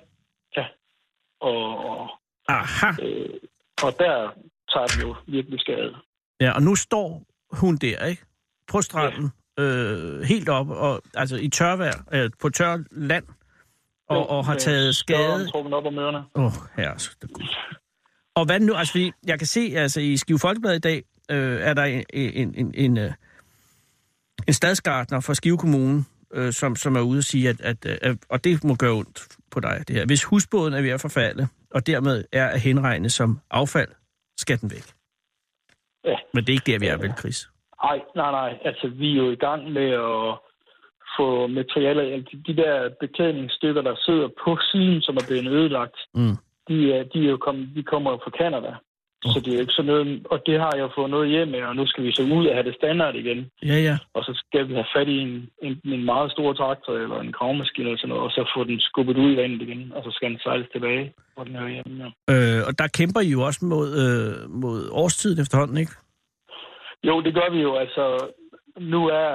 ja. Og, og, Aha. øh, og der tager den jo virkelig skade. Ja, og nu står hun der, ikke? På stranden, ja. øh, helt op, og, altså i tørvejr, øh, på tør land, og, og har Med taget snøren skade. trukket op om ørerne. Åh, oh, herre, så det gud. Og hvad nu? Altså, fordi jeg kan se, altså i Skive Folkeblad i dag, øh, er der en, en, en, en, øh, en stadsgartner fra Skive Kommune, øh, som, som er ude og sige, at, at, øh, at, og det må gøre ondt på dig, det her. Hvis husbåden er ved at forfalde, og dermed er at henregne som affald, skal den væk. Ja. Men det er ikke der, vi er, vel, Chris? Ej, nej, nej. Altså, vi er jo i gang med at få materialer, altså de der beklædningsstykker, der sidder på siden, som er blevet ødelagt, Mm. de, er, de, er jo kommet, de kommer jo fra Kanada. Så det er jo ikke sådan noget, og det har jeg jo fået noget hjem med, og nu skal vi så ud og have det standard igen. Ja, ja. og så skal vi have fat i en, enten en meget stor traktor eller en gravmaskine eller sådan noget, og så få den skubbet ud i vandet igen, og så skal den sejles tilbage, hvor den hører hjemme. Ja. Øh, og der kæmper I jo også mod, øh, mod årstiden efterhånden, ikke? Jo, det gør vi jo, altså nu er,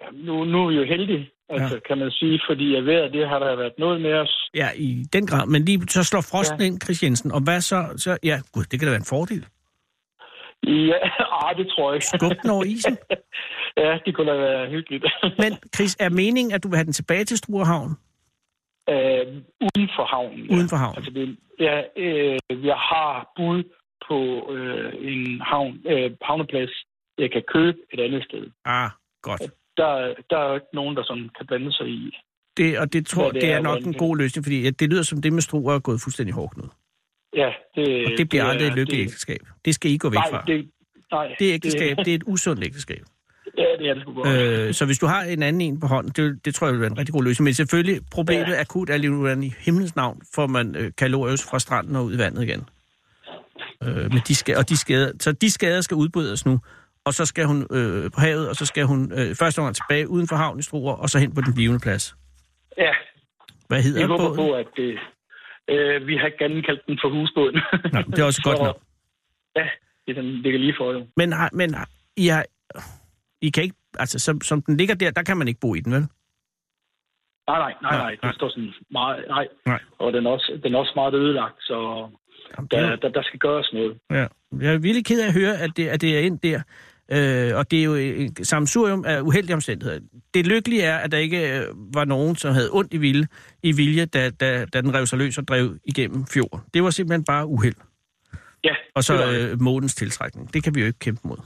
ja, nu, nu er vi jo heldige, Altså, kan man sige, fordi at vejret, det har der været noget med os. Ja, i den grad. Men lige så slår frosten ja. ind, Chris Jensen. Og hvad så? så? Ja, gud, det kan da være en fordel. Ja, ah, det tror jeg ikke. Skub den over isen. Ja, det kunne da være hyggeligt. Men Chris, er meningen, at du vil have den tilbage til Struerhavn? øh, uden for havnen. Uden for havnen. Altså, det, ja, øh, jeg har bud på øh, en havn, øh, havneplads, jeg kan købe et andet sted. Ah, godt. Der, der er jo ikke nogen, der sådan kan blande sig i. Det, og det tror Hvad det, det det er, er, nok hvordan en det- god løsning, fordi ja, det lyder som det med Struer er gået fuldstændig hårdt ud. Ja, det, Og det bliver er- aldrig et lykkeligt det- ægteskab. Det skal I gå væk Nej, fra. det, nej, Det ægteskab, det er et usundt ægteskab. Ja, det er det sgu godt. Øh, Øh, så hvis du har en anden en på hånden, det, det tror jeg vil være en rigtig god løsning. Men selvfølgelig, problemet ja. Ja. akut er lige nu, hvordan i himlens navn får man øh, kalorier fra stranden og ud i vandet igen. Øh, men de skal, og de skader, så de skader skal udbrydes nu. Og så skal hun øh, på havet, og så skal hun øh, første omgang tilbage uden for havnen i Struer, og så hen på den blivende plads. ja, Hvad vi hedder håber båden? på, at det, øh, vi har gerne kaldt den for husbåden. Nå, det er også godt nok. Ja, det er den ligger lige for jo. Men, har- men har- I, har, I kan ikke, altså som, som den ligger der, der kan man ikke bo i den, vel? Nej, nej, nej, nej. Nej. Det står sådan meget, nej. Nej. Og den er også, den er også meget ødelagt, så Jamen, det er der, jo- der, der skal gøres noget. Ja. Jeg er virkelig ked af at høre, at det, at det er ind der. Øh, og det er jo et samsurium af uheldige omstændigheder. Det lykkelige er, at der ikke øh, var nogen, som havde ondt i vilje, i vilje da, da, da den rev sig løs og drev igennem fjorden. Det var simpelthen bare uheld. Ja, Og det så var det. øh, månens tiltrækning. Det kan vi jo ikke kæmpe mod.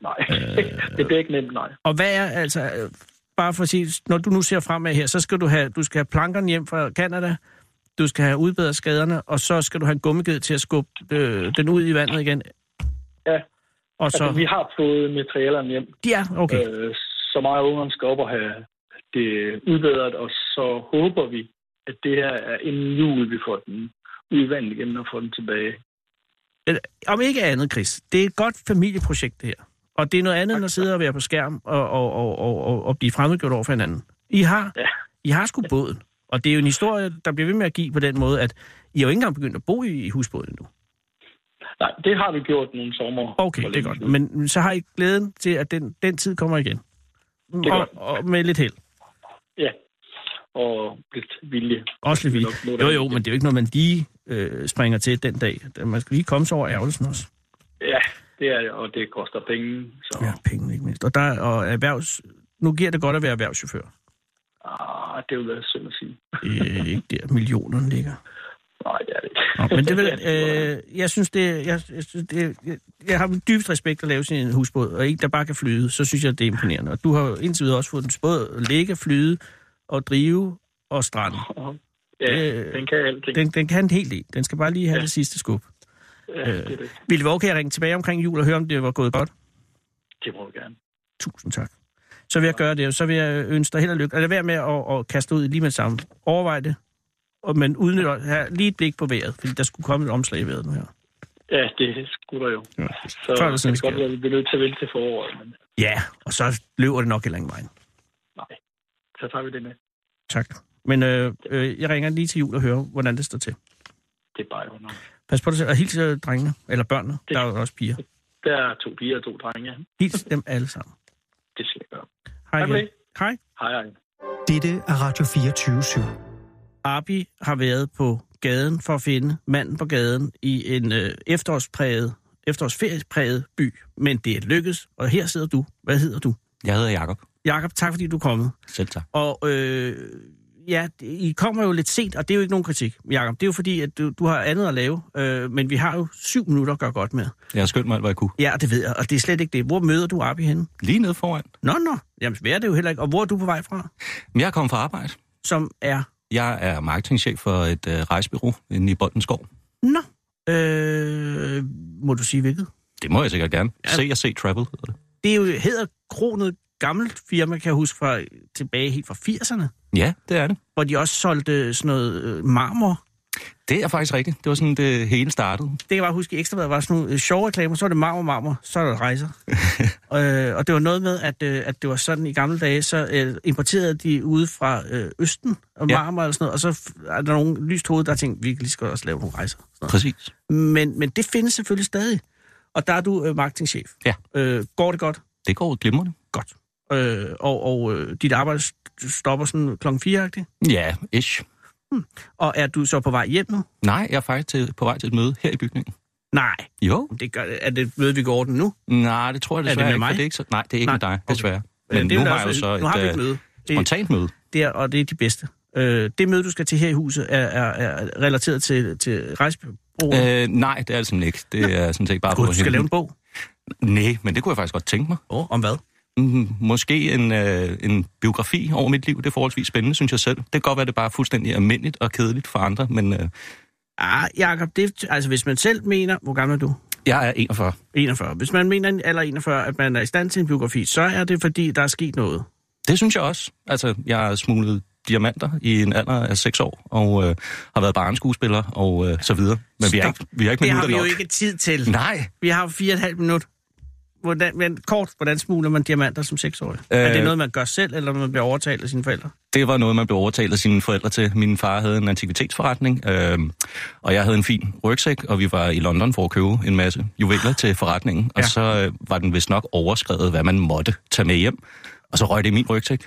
Nej, det bliver ikke nemt, nej. Og hvad er altså, øh, bare for at sige, når du nu ser fremad her, så skal du have, du skal have plankerne hjem fra Kanada, du skal have udbedret skaderne, og så skal du have en gummiged til at skubbe øh, den ud i vandet igen. Ja. Og Altså, så... vi har fået materialerne hjem, Ja, okay. øh, så meget ungerne skal op og have det udbedret, og så håber vi, at det her er inden jul, vi får den udvandet igen og får den tilbage. Men Om ikke andet, Chris, det er et godt familieprojekt, det her. Og det er noget andet, end at sidde og være på skærm og, og, og, og, og, og blive fremmedgjort over for hinanden. I har, Ja. I har sgu båden. Og det er jo en historie, der bliver ved med at give på den måde, at I har jo ikke engang begyndt at bo i, i husbåden endnu. Nej, det har vi gjort nogle sommer. Okay, det er godt. Men så har I glæden til, at den, den tid kommer igen. er Og, og med lidt held. Ja, og lidt vilje. Også lidt Nok noget, vildt. der Jo, er jo, lidt- men det er jo ikke noget, man lige øh, springer til den dag. Man skal lige komme sig over ærgelsen også. Ja, det er det, og det koster penge. Så Ja, ja. penge ikke mindst. Og, der, og erhvervs... Nu giver det godt at være erhvervschauffør. ah, det vil være synd at sige. øh, ikke der millionerne ligger. Nej, det er det ikke. Nå, men det vil, Ja, øh, jeg synes, det, jeg, jeg, synes, det jeg, jeg har dybest respekt at lave sin husbåd, og en, der bare kan flyde, så synes jeg, det er imponerende. Og du har jo indtil videre også fået den både at ligge, flyde og drive og strande. ja, øh, den kan alting. Den, den kan helt i. Den skal bare lige have ja. Ja. det sidste skub. ja, det, er det. Ville det være okay at ringe tilbage omkring jul og høre, om det var gået godt? det må vi gerne. Tusind tak. Så vil jeg gøre det, og så vil jeg ønske dig held og lykke. Og lad være med at, at kaste ud lige med det samme. Overvej det, og man udnytter have lige et blik på vejret, fordi der skulle komme et omslag i vejret nu her. Ja, det skulle der jo. Ja. Så Før eller det siden kan sker godt det. være, at vi bliver nødt til at vente til foråret, men Ja, og så løber det nok heller ingen vejen. nej, så tager vi det med. Tak. Men øh, øh, jeg ringer lige til jul og hører, hvordan det står til. Det er bare jo nok. Pas på dig selv, og hils øh, drengene, eller børnene, Det- der er jo også piger. Der er to piger og to drenge. ja. Hils dem alle sammen. Det skal jeg gøre. Hej Hej med igen. Hej. Hej, hej. Dette er Radio 24 /7. Arbi har været på gaden for at finde manden på gaden i en øh, efterårspræget, efterårsferiepræget by. Men det er lykkedes, og her sidder du. Hvad hedder du? Jeg hedder Jakob. Jakob, tak fordi du er kommet. Selv tak. Og øh, ja, det- I kommer jo lidt sent, og det er jo ikke nogen kritik, Jakob. Det er jo fordi, at du, du har andet at lave, øh, men vi har jo syv minutter at gøre godt med. Jeg har skyndt mig alt, hvad jeg kunne. Ja, det ved jeg, og det er slet ikke det. Hvor møder du Arbi henne? Lige nede foran. Nå, nå, jamen svært er det jo heller ikke. Og hvor er du på vej fra? Men jeg er kommet fra arbejde. Som er, Jeg er marketingchef for et øh, rejsebureau inde i Boldenskov. nå, øh, må du sige hvilket? Det må jeg sikkert gerne. Se og se travel hedder det. Det er jo hedder kronet gammelt firma, kan jeg huske, fra tilbage helt fra 80'erne, Ja, det er det. hvor de også solgte sådan noget øh, marmor. Det er faktisk rigtigt. Det var sådan, det hele startede. Det kan jeg bare huske, ekstra var sådan nogle øh, sjove reklamer, så var det marmor, marmor, så er der rejser. øh, og det var noget med, at, øh, at det var sådan i gamle dage, så øh, importerede de ude fra øh, Østen og Ja. marmor og sådan noget, og så f- er der nogle lyst hoved, der tænkte, vi kan lige skal også lave nogle rejser. Sådan noget. Præcis. Men, men det findes selvfølgelig stadig. Og der er du øh, marketingchef. Ja. Øh, går det godt? Det går glimrende. Godt. øh, og, og øh, dit arbejde st- stopper sådan klokken 4 -agtigt. Ja, ish. Og er du så på vej hjem nu? Nej, jeg er faktisk til, på vej til et møde her i bygningen. Nej, Jo. det gør, er det møde, vi går ordentligt nu? Nej, det tror jeg det desværre med ikke, for mig? Det er ikke så, nej, det er ikke Nej, med dig, okay. desværre. Øh, Men det er nu der har jeg jo også- så et, nu har vi øh, et møde. Det, spontant møde. der, og det er de bedste. Øh, det møde, du skal til her i huset, er, er, er relateret til, til rejsebureauet. Øh, Øh, nej, det er det simpelthen ikke. Det er sådan set bare Gud, på du skal lave en himlen. bog. Nej, men det kunne jeg faktisk godt tænke mig. Oh, om hvad? Mm, måske en, øh, en biografi over mit liv. Det er forholdsvis spændende, synes jeg selv. Det kan godt være, det bare er fuldstændig almindeligt og kedeligt for andre, men øh, Ah, Jacob, det, altså hvis man selv mener... Hvor gammel er du? jeg er 41. 41. Hvis man mener eller 41, at man er i stand til en biografi, så er det, fordi der er sket noget. Det synes jeg også. Altså, jeg har smuglet diamanter i en alder af 6 år, og øh, har været barneskuespiller og øh, så videre. Men vi har Stop. ikke, vi har ikke Det minutter har vi nok. jo ikke tid til. Nej, Vi har jo fire og et halvt minut. Hvordan, men kort, hvordan smugler man diamanter som seksårig? Øh, er det Øh. noget, man gør selv, eller man bliver overtalt af sine forældre? det var noget, man blev overtalt af sine forældre til. Min far havde en antikvitetsforretning, øh, og jeg havde en fin rygsæk, og vi var i London for at købe en masse juveler til forretningen. Og Ja. så øh, var den vist nok overskrevet, hvad man måtte tage med hjem. Og så røg det i min rygsæk.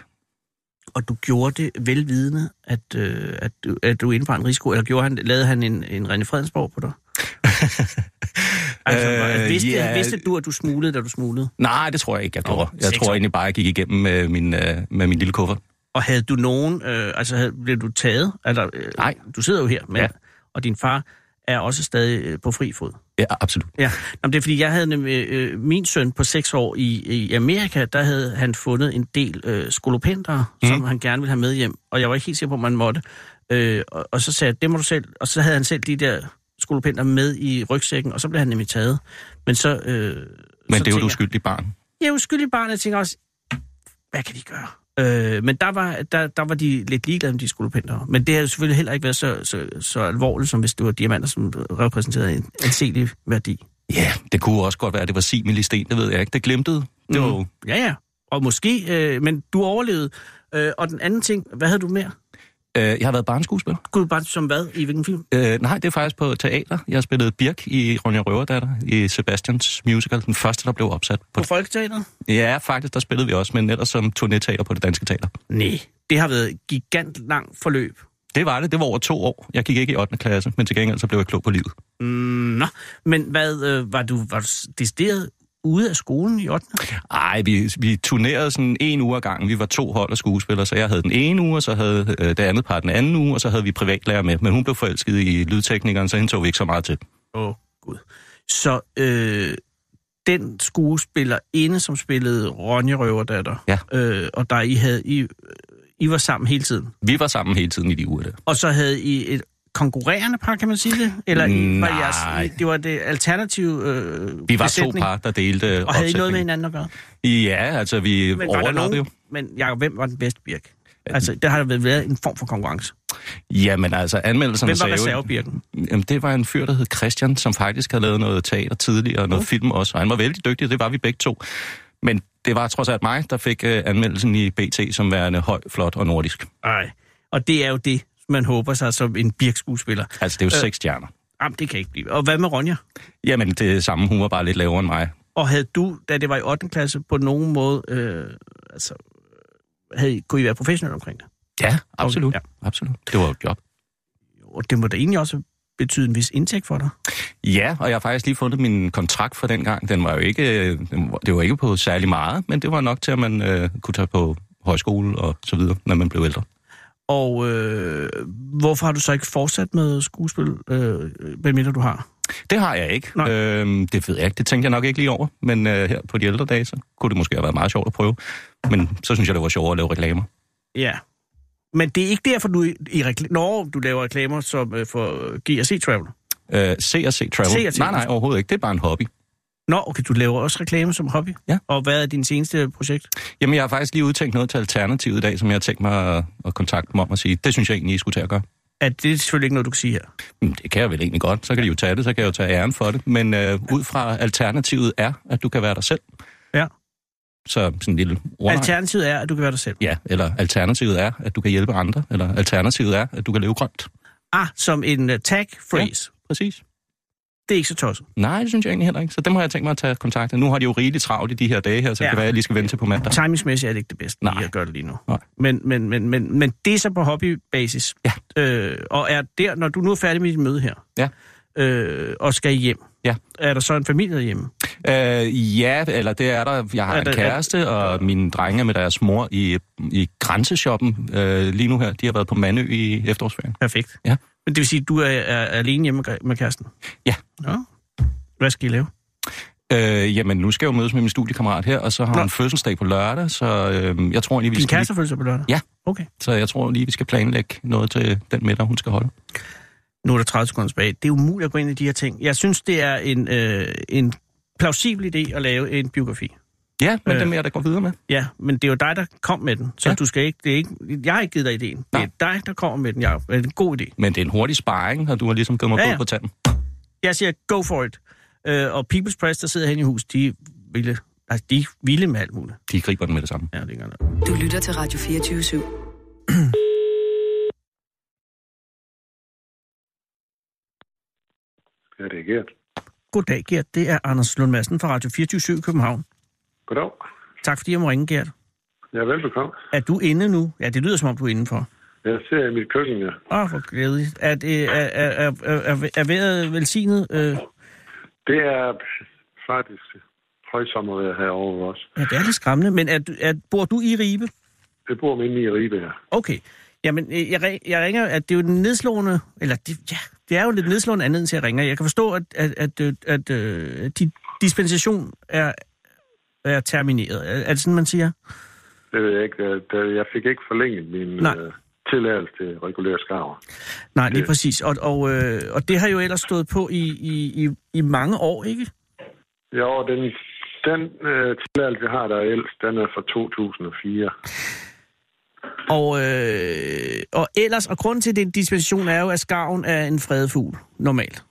Og du gjorde det velvidende, at, øh, at, du, at du indebar en risiko, eller gjorde han, lavede han en, en René Fredensborg på dig? altså, øh, Øh, vidste, ja. vidste du, at du smuglede, da du smuglede? Nej, det tror jeg ikke, jeg gjorde. Nå, Jeg seks år. tror egentlig bare, jeg gik igennem med min, øh, med min lille kuffert. Og havde du nogen, øh, altså havde, blev du taget? Eller, øh, Nej. Du sidder jo her, men, ja. Ja. og din far er også stadig øh, på fri fod. Ja, absolut. Ja, Nå, men det er fordi, jeg havde nemlig, øh, min søn på 6 år i, i Amerika, der havde han fundet en del øh, skolopenter, Mhm. mm. som han gerne ville have med hjem, og jeg var ikke helt sikker på, om man måtte. Øh, og, og så sagde jeg, det må du selv, og så havde han selv de der skolopenter med i rygsækken, og så blev han nemlig taget. Men så... Øh, Men så det er jo tænker et uskyldigt barn. Jeg, jeg er uskyldig barn, jeg tænker også, hvad kan de gøre? Øh, men der var, der, der var de lidt ligeglade med de skolopenter. Men det havde selvfølgelig heller ikke været så, så, så alvorligt, som hvis det var diamanter, som repræsenterede en anselig værdi. Ja, det kunne også godt være, at det var similisten, det ved jeg ikke. Det glimtede. Mm. Det var jo Ja, ja. Og måske, øh, men du overlevede. Øh, og den anden ting, hvad havde du mere? Øh, jeg har været barneskuespiller. Gud, bare som hvad? I hvilken film? Øh, nej, det er faktisk på teater. Jeg spillede Birk i Ronja Røverdatter i Sebastians musical, den første, der blev opsat. På På Folketeateret? ja, faktisk, der spillede vi også, men ellers som turnéteater på det danske teater. Nej. Det har været et gigant langt forløb. Det var det. Det var over to år. Jeg gik ikke i 8. klasse, men til gengæld så blev jeg klog på livet. Mm, nå. Men hvad, øh, var du, var du s- decideret ude af skolen i 8. Ej, vi, vi turnerede sådan en uge ad gangen. Vi var to hold af skuespillere, så jeg havde den ene uge, og så havde øh, det andet par den anden uge, og så havde vi privatlærer med. Men hun blev forelsket i lydteknikeren, så hende tog vi ikke så meget til. Åh, oh, Gud. Så øh, den skuespillerinde, som spillede Ronja Røverdatter, Ja. øh, og der I havde, I, I var sammen hele tiden, Vi var sammen hele tiden i de uger der. Og så havde I et konkurrerende par, kan man sige det? Eller I, var Nej. jeres, I- det var det alternative øh, Vi var besætning, to par, der delte øh, Og havde I noget med opsætningen. hinanden at gøre? Ja, altså vi Men var der overlappede jo. nogen? Men Jacob, hvem var den bedste Birk? Altså, der har vel været en form for konkurrence. Jamen altså, anmeldelserne Hvem var sagde jo... reservebirken? Jamen, det var en fyr, der hed Christian, som faktisk havde lavet noget teater tidligere Mm. og noget film også. Og han var vældig dygtig, og det var vi begge to. Men det var trods alt mig, der fik øh, anmeldelsen i BT som værende høj, flot og nordisk. Nej. Og det er jo det, man håber sig som en Birk-skuespiller. Altså, det er jo Øh. øh. seks stjerner. Jamen, det kan ikke blive. Og hvad med Ronja? Jamen, det er samme. Hun var bare lidt lavere end mig. Og havde du, da det var i 8. klasse, på nogen måde... Øh, altså, havde, I- kunne I være professionelle omkring det? Ja, absolut. Okay, Okay, ja. absolut. Det var jo et job. Og det må da egentlig også betyde en vis indtægt for dig. Ja, og jeg har faktisk lige fundet min kontrakt fra den gang. Den var jo ikke, øh, den var- det var ikke på særlig meget, men det var nok til, at man øh, kunne tage på højskole og så videre, når man blev ældre. Og øh, hvorfor har du så ikke fortsat med skuespil, øh, medmindre du har? Det har jeg ikke. Nej. Øhm, det ved jeg ikke. Det tænkte jeg nok ikke lige over. Men øh, her på de ældre dage, så kunne det måske have været meget sjovt at prøve. Men så synes jeg, det var sjovere at lave reklamer. Ja. Men det er ikke derfor, du i, i rekl- Når du laver reklamer som, øh, for GRC Travel. Øh, C&C Travel. C&C. Nej, nej, overhovedet ikke. Det er bare en hobby. Nå, okay, du laver også reklame som hobby. Ja. Og hvad er din seneste projekt? Jamen, jeg har faktisk lige udtænkt noget til Alternativet i dag, som jeg har tænkt mig at, at kontakte dem om og sige, det synes jeg egentlig, I skulle tage at gøre. At det er selvfølgelig ikke noget, du kan sige her. "Mm, Det kan jeg vel egentlig godt. Så kan de jo tage det, så kan jeg jo tage æren for det. Men øh, ud fra Alternativet er, at du kan være dig selv. Ja. Så sådan en lille ordning. Alternativet er, at du kan være dig selv. ja, eller Alternativet er, at du kan hjælpe andre. Eller Alternativet er, at du kan leve grønt. Ah, som en uh, tag øh, phrase. Præcis. Det er ikke så tosset. Nej, det synes jeg egentlig heller ikke. Så dem har jeg tænkt mig at tage kontakt med. Nu har de jo rigeligt travlt i de her dage her, så ja. Ja. det kan være, at jeg lige skal vente til på mandag. Timingsmæssigt er det ikke det bedste, Nej. Nej. at gøre det lige nu. Nej. Men, men, men, men, men det er så på hobbybasis. Ja. Øh, og er der, når du nu er færdig med dit møde her, Ja. øh, og skal hjem, Ja. er der så en familie hjemme? Øh, ja, eller det er der. Jeg har Er en der- kæreste, og mine drenge er med deres mor i, i grænseshoppen øh, lige nu her. De har været på Mandø i efterårsferien. Perfekt. Ja. Men det vil sige, at du er, er alene hjemme med- med kæresten? Ja. Nå. Hvad skal I lave? Øh, jamen, nu skal jeg jo mødes med min studiekammerat her, og så har Nå. hun fødselsdag på lørdag, så øh, jeg tror lige, vi Din skal... kæreste følger sig på lørdag? Ja. Okay. Så jeg tror lige, vi skal planlægge noget til den middag, hun skal holde. Nu er der 30 sekunder tilbage. Det er umuligt at gå ind i de her ting. Jeg synes, det er en, øh, en plausibel idé at lave en biografi. Ja, men øh. Øh. dem er jeg da går videre med. Ja, men det er jo dig, der kom med den. Så Ja. ja. du skal ikke, det er ikke... Jeg har ikke givet dig ideen. Det Nej. er dig, der kommer med den, Jacob. Det er en god idé. Men det er en hurtig sparring, og du har ligesom givet mig Ja, ja, ja. ja. på tanden. Jeg siger, go for it. Øh, og People's Press, der sidder hen i hus, de ville, altså, de er vilde med alt muligt. De griber den med det samme. Ja, det er ikke engang- Du lytter til Radio 24 /7. Ja, det er Gert. Goddag, Gert. Det er Anders Lund Madsen fra Radio 24 København. Goddag. Tak fordi jeg må ringe, Gert. Ja, velbekomme. Er du inde nu? Ja, det lyder som om, du er indenfor. Jeg ser i mit køkken, ja. Åh, oh, hvor glædeligt. Er, det- er, er, er, er, er, er vejret velsignet? Øh, Det er faktisk højsommervejr herovre også. ja, det er lidt skræmmende, men er, du- er, bor du i Ribe? Det bor min i Ribe her. Okay. Jamen, øh, jeg, ri- jeg ringer, at det er jo den nedslående, eller det, ja, det er jo lidt nedslående andet, til jeg ringer. Jeg kan forstå, at, at, at, øh, at, at dit dispensation er, er termineret. Er, er det sådan, man siger? Det ved jeg ikke. øh, da- Jeg fik ikke forlænget min Nej. øh, tilladelse til regulær skarver. Nej, lige Øh. præcis. Og, og, øh, og det har jo ellers stået på i, i, i, i mange år, ikke? Jo, den, den øh, tilladelse, jeg har der er ældst, den er fra 2004. Og, øh, og ellers, og grunden til den dispensation er jo, at skarven er en fredet fugl, normalt.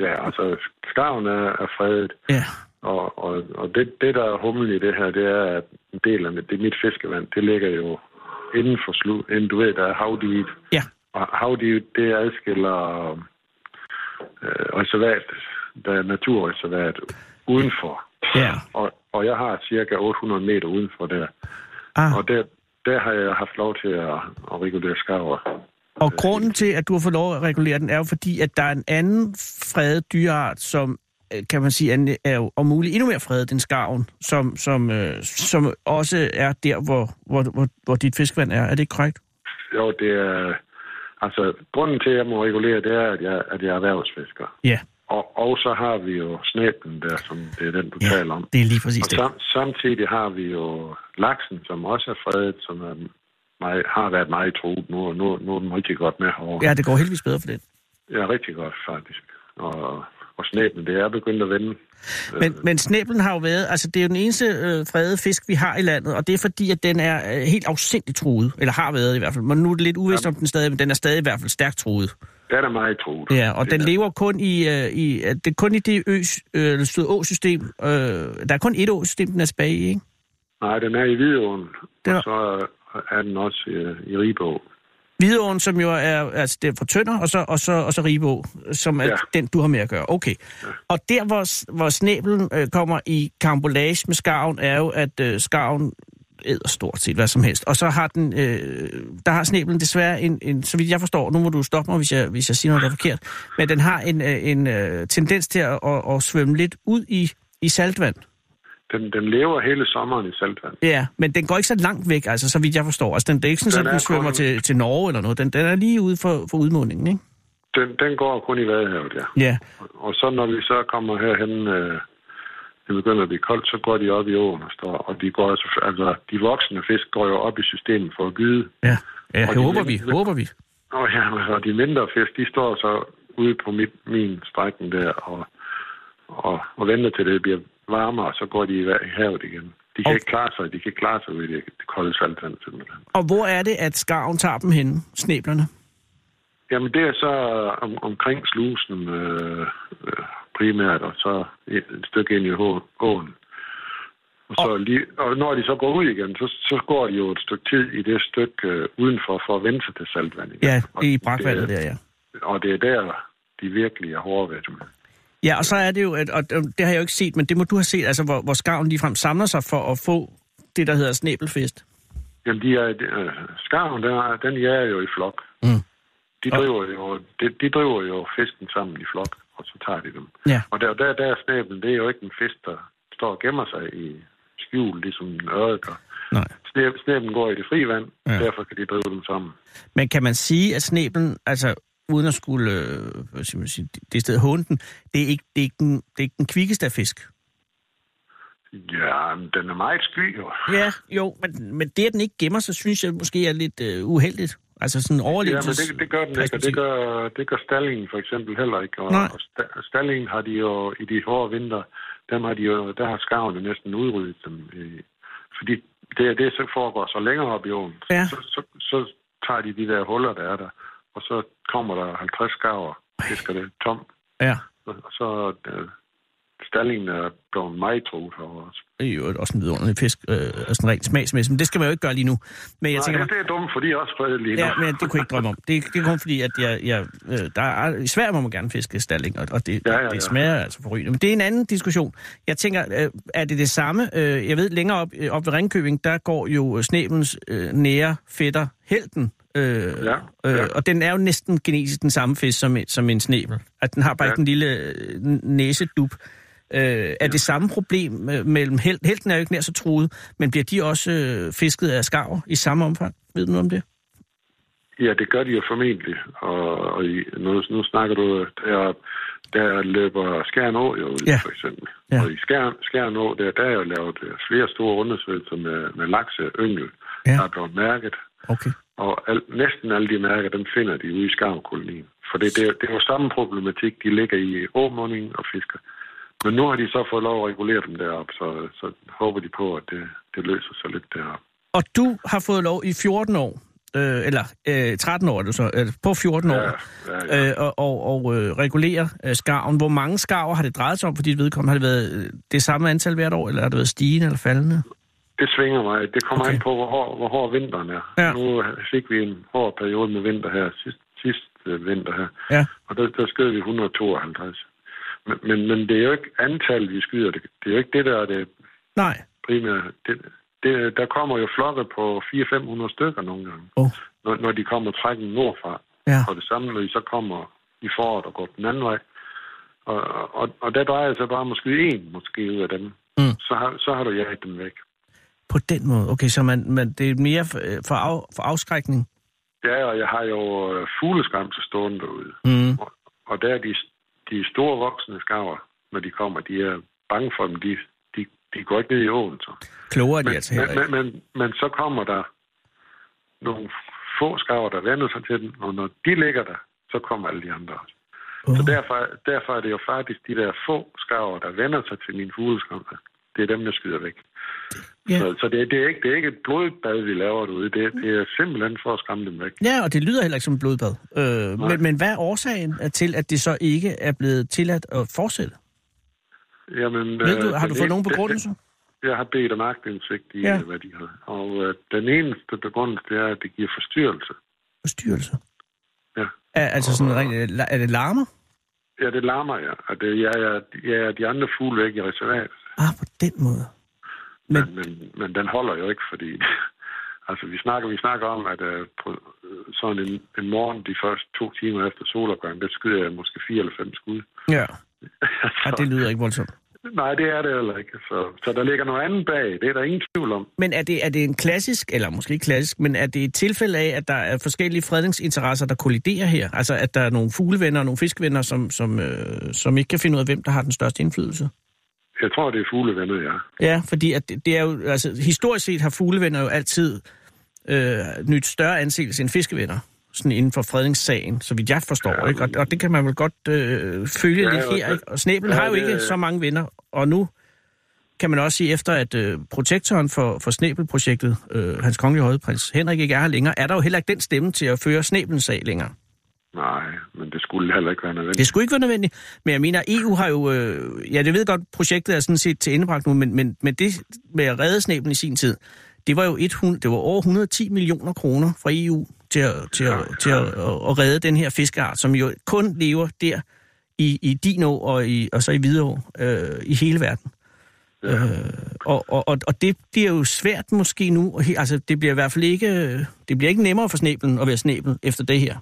Ja, altså skarven er, er fredet. Ja. Og, og, og det, det, der er humlen i det her, det er, at en del af mit, det, mit fiskevand, det ligger jo inden for slu, inden du ved, der er havdiget. Ja. Og havdiget, det adskiller øh, reservat, der er naturreservat udenfor. Ja. Og, og jeg har cirka 800 meter udenfor der. Ah, Og der, der har jeg haft lov til at, at regulere skarver. og grunden til, at du har fået lov at regulere den, er jo fordi, at der er en anden fredet dyreart, som øh, kan man sige, er- er jo om muligt endnu mere fredet end skarven, som, som, øh, som også er der, hvor, hvor, hvor, hvor dit fiskevand er. Er det ikke korrekt? Jo, det er... Altså, grunden til, at jeg må regulere, det er, at jeg, at jeg er erhvervsfisker. Ja, Og, og så har vi jo snæblen der, som det er den, du Ja, taler om. det er lige præcis Og det. sam, samtidig har vi jo laksen, som også er fredet, som er meget, har været meget truet nu, og nu, nu er den rigtig godt med herovre. Ja, det går heldigvis bedre for det. ja rigtig godt, faktisk. Og, og snæblen, det er begyndt at vende. Men, men snæblen har jo været, altså det er jo den eneste øh, fredede fisk, vi har i landet, og det er fordi, at den er øh, helt afsindigt truet, eller har været i hvert fald, men nu er det lidt uvist om den stadig, men den er stadig i hvert fald stærkt truet. Den er meget truet. Ja, og Det den er- lever kun i, øh, i øh, det er kun i det ø, øh, eller Sydå-system, øh, der er kun et å-system, den er tilbage i, ikke? Nej, den er i Hvidåen, Den er- og så er den også i, i Ribå. Hvidåen, som jo er, altså det er fra Tønder, og så, og så, og så Ribå, som er Ja. ja. den, du har med at gøre. Okay. Ja. Og der, hvor, s- hvor snæblen øh, kommer i kambolage med skarven, er jo, at øh, skarven æder stort set hvad som helst. Og så har den, øh, der har snæblen desværre en, en, så vidt jeg forstår, nu må du stoppe mig, hvis jeg, hvis jeg siger noget, der er forkert, men den har en, øh, en øh, tendens til at, at, at svømme lidt ud i, i saltvand. Den, den lever hele sommeren i saltvand. Ja, men den går ikke så langt væk, altså, så vidt jeg forstår. Altså, den, det er ikke sådan, at Den er den svømmer kun- til, til Norge eller noget. Den, den er lige ude for, for udmundingen, ikke? Den, den går kun i Vadehavet, ja. Ja. Og så når vi så kommer herhen, øh, det begynder at blive koldt, så går de op i åen og står. Og de, går, altså, altså, de voksne fisk går jo op i systemet for at gyde. Ja, ja Og det de håber vi, mindre- håber vi. Og, ja, og de mindre fisk, de står så ude på mit, min strækken der og, og, og venter til det bliver varmere, og så går de i va- i havet igen. De kan Og- ikke klare sig, de kan ikke klare sig ude i det, det kolde saltvand simpelthen. Og hvor er det, at skarven tager dem henne, sneblerne? Jamen det er så øh, om, omkring slusen øh, øh, primært, og så et, et stykke ind i hå- åen. Og, så lige, og når de så går ud igen, så, så går de jo et stykke tid i det stykke øh, udenfor for at vende sig til saltvand. igen. Ja, Og i det- brakvandet der, ja. Og det er der, de virkelig er hårde ved dem. Ja, og så er det jo, at, og det har jeg jo ikke set, men det må du have set, altså hvor, hvor skarven ligefrem samler sig for at få det, der hedder snæbelfest. Jamen, de er, øh, skarven, den, er- den jager jo i flok. Mm. De driver, jo, de, de driver jo fisken sammen i flok, og så tager de dem. Ja. Og der, der, der er snæblen, det er jo ikke en fisk, der står og gemmer sig i skjul, ligesom en ørred gør. Nej. Snæb, snæblen går i det frie vand, Ja. ja. derfor kan de drive dem sammen. Men kan man sige, at snæblen, altså uden at skulle, øh, hvad skal man sige, det sted håne den, det er ikke, det er ikke, den, det er ikke den kvikkeste af fisk. Ja, men den er meget sky, jo. Ja, jo, men, men det, at den ikke gemmer sig, synes jeg måske er lidt øh, uheldigt. Altså sådan Ja, men overlevelses... det, det gør den ikke, og det gør, det gør stallingen for eksempel heller ikke. Og, Nej. og sta- stallingen har de jo i de hårde vinter, dem har de jo, der har skarven jo næsten udryddet dem. i- Fordi det er det, så foregår så længere op i åen. Ja. Så, så, så tager de de der huller, der er der, og så kommer der 50 skarver, fisker det tom. Ja, Og så øh, stallingen er blevet meget truet herovre. også. det er jo også en vidunderlig fisk, øh, og sådan rent smagsmæssigt, men det skal man jo ikke gøre lige nu. Men jeg Nej, tænker, ja, det er dumt, fordi jeg også spreder lige Ja, nu. men det kunne jeg ikke drømme om. Det, det er kun fordi, at jeg, jeg, øh, der er, i Sverige må man gerne fiske stalling, og, og det, ja, ja, ja. det smager altså forrygende. Men det er en anden diskussion. Jeg tænker, øh, er det det samme? Øh, jeg ved, længere op, øh, op ved Ringkøbing, der går jo øh, snæbens øh, nære fætter Helten. Øh, Ja, ja. Øh, og den er jo næsten genetisk den samme fisk som, en- som en snæbel. At den har bare Ja. ikke den lille øh, næsedup. Øh, er det samme problem øh, mellem... Hel, helten er jo ikke nær så truet, men bliver de også øh, fisket af skarver i samme omfang? Ved du noget om det? Ja, det gør de jo formentlig. Og, og i, nu, nu snakker du, øh, der, der løber Skjern Å jo, Ja. ja. for eksempel. Ja. Ja. Og i Skjern, Skjern Å, der, der er jo lavet øh, flere store undersøgelser med, med lakseyngel, Ja. ja. der er blevet mærket. Okay. Og al, næsten alle de mærker, dem finder de ude i skarvkolonien. For det, det, er- det er jo samme problematik, de ligger i åmundingen og fisker. Men nu har de så fået lov at regulere dem deroppe, så, så håber de på, at det, det løser sig lidt deroppe. Og du har fået lov i 14 år, øh, eller øh, 13 år er du så, øh, på 14 år, Ja, ja, ja. Øh, og, og, og øh, regulere øh, skarven. Hvor mange skarver har det drejet sig om for dit vedkommende? Har det været øh, det samme antal hvert år, eller har det været stigende eller faldende? Det svinger mig. Det kommer Okay. okay. an på, hvor hård, hvor hård vinteren er. Ja. Nu fik vi en hård periode med vinter her, sidst, sidst øh, vinter her. Ja. Og der, der skød vi 152. Men, men, men det er jo ikke antallet, vi skyder. Det, det er jo ikke det, der er det Nej. primære. Det, det, der kommer jo flokke på 400-500 stykker nogle gange, Åh, oh, når, når de kommer trækken nordfra. ja. Og det samme, når de så kommer i foråret og går den anden vej. Og, og, og der drejer det sig bare måske en måske ud af dem. Mm. Så, har, så har du jaget dem væk. På den måde. Okay, så man, man, det er mere for, øh, for, af, for afskrækning. Ja, og jeg har jo øh, fugleskramser stående derude. Mm. Og der er de, de store voksne skarver, når de kommer, de er bange for dem. De, de, de går ikke ned i åen, så. Klogere er de Men, altså heller men, men, ikke. men, men så kommer der nogle få skarver, der vender sig til den, og når de ligger der, så kommer alle de andre også. Oh. Så derfor, derfor er det jo faktisk de der få skarver, der vender sig til mine fugleskramser. Det er dem, jeg skyder væk. Ja. Så, så det, det, er ikke, det er ikke et blodbad, vi laver derude. Det, det er simpelthen for at skræmme dem væk. Ja, og det lyder heller ikke som et blodbad. Øh, Nej. men, men hvad er årsagen øh, til, at det så ikke er blevet tilladt at fortsætte? Jamen, Ved du, øh, har du den fået ene- nogen begrundelse? Jeg har bedt om agtindsigt i, Ja. ja. hvad de har. Og øh, den eneste begrundelse, det er, at det giver forstyrrelse. Forstyrrelse? Ja. Er, altså sådan rent, øh, la- er det larmer? Ja, det larmer jeg. Og det, jeg, jeg, jeg er de andre fugle væk i reservat. Ah, på den måde. Men- Men, men, men den holder jo ikke, fordi... Altså, vi snakker, vi snakker om, at øh, på, øh, sådan en, en morgen, de første to timer efter solopgang, der skyder jeg måske fire eller fem skud. Ja. så, Ah, det lyder ikke voldsomt. Nej, det er det heller ikke. Så, så der ligger noget andet bag. Det er der ingen tvivl om. Men er det, er det en klassisk, eller måske ikke klassisk, men er det et tilfælde af, at der er forskellige fredningsinteresser, der kolliderer her? Altså, at der er nogle fuglevenner og nogle fiskevenner, som, som, øh, som ikke kan finde ud af, hvem der har den største indflydelse? Jeg tror, det er fuglevenner, ja. Ja, fordi at det, det er jo, altså, historisk set har fuglevenner jo altid øh, nyt større anseelse end fiskevenner sådan inden for fredningssagen, så vidt jeg forstår. Ja, ikke? Og, og det kan man vel godt øh, følge ja, Ja, lidt og her. det- Ikke? Og Snæbel ja, ja, har jo det- ikke så mange venner, og nu kan man også sige, efter at øh, protektoren for, for Snæbelprojektet, øh, hans kongelige højdeprins Henrik, ikke er her længere, er der jo heller ikke den stemme til at føre Snæbelens sag længere. Nej, men det skulle heller ikke være nødvendigt. Det skulle ikke være nødvendigt, men jeg mener, EU har jo... Øh, ja, det ved jeg godt, projektet er sådan set til endebragt nu, men, men, men det med at redde snæblen i sin tid, det var jo 100, det var over 110 millioner kroner fra E EU til, at, til, at, til at, at redde den her fiskeart, som jo kun lever der i, i din år og, i, og så i Hvidovre, øh, i hele verden. Ja. Øh, og, og, og, og det bliver jo svært måske nu. og he- Altså, det bliver i hvert fald ikke, det bliver ikke nemmere for sneblen at være snebel efter det her.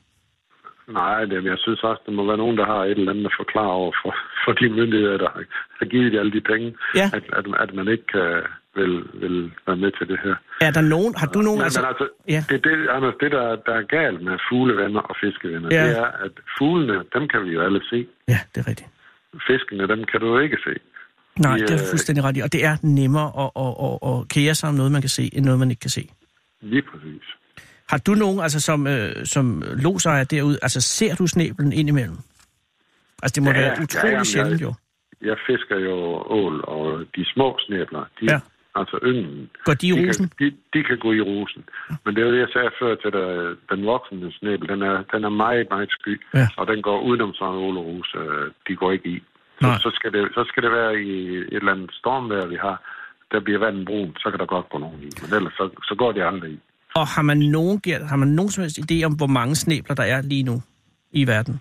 Nej, det, men jeg synes også, der må være nogen, der har et eller andet at forklare over for, for de myndigheder, der har- har givet jer alle de penge, Ja. at, at, at man ikke kan, vil, vil være med til det her. Er der nogen, har du nogen, Men, altså, altså, men altså, ja. ja. det, det, Anders, det der, der er galt med fuglevenner og fiskevenner, Ja. ja. det er, at fuglene, dem kan vi jo alle se. ja, det er rigtigt. Fiskene, dem kan du jo ikke se. Nej, Vi, det er du øh, fuldstændig ret i. Og det er nemmere at, at, at, at kære sig om noget, man kan se, end noget, man ikke kan se. Lige præcis. Har du nogen, altså som, øh, som losejer derude, altså ser du sneblen indimellem? Altså, det må ja, Ja, være ja, utrolig ja, ja, ja, men sjældent, jeg- jo. Jeg fisker jo ål, og de små snæbler, de, Ja. ja. altså ynglen, Går de i de rosen? kan, de, de kan gå i rosen. Men det er jo det, jeg sagde før til dig, den voksne snæbel, den er, den er meget, meget sky, Ja. ja. og den går udenom sådan en ål og rose, øh, de går ikke i. Nej. Så, så, skal det, så skal det være i et eller andet stormvejr, vi har, der bliver vandet brun, så kan der godt gå nogen i, men ellers så, så går de aldrig i. Og har man nogen, Gert, har man nogen som helst idé om, hvor mange snebler der er lige nu i verden?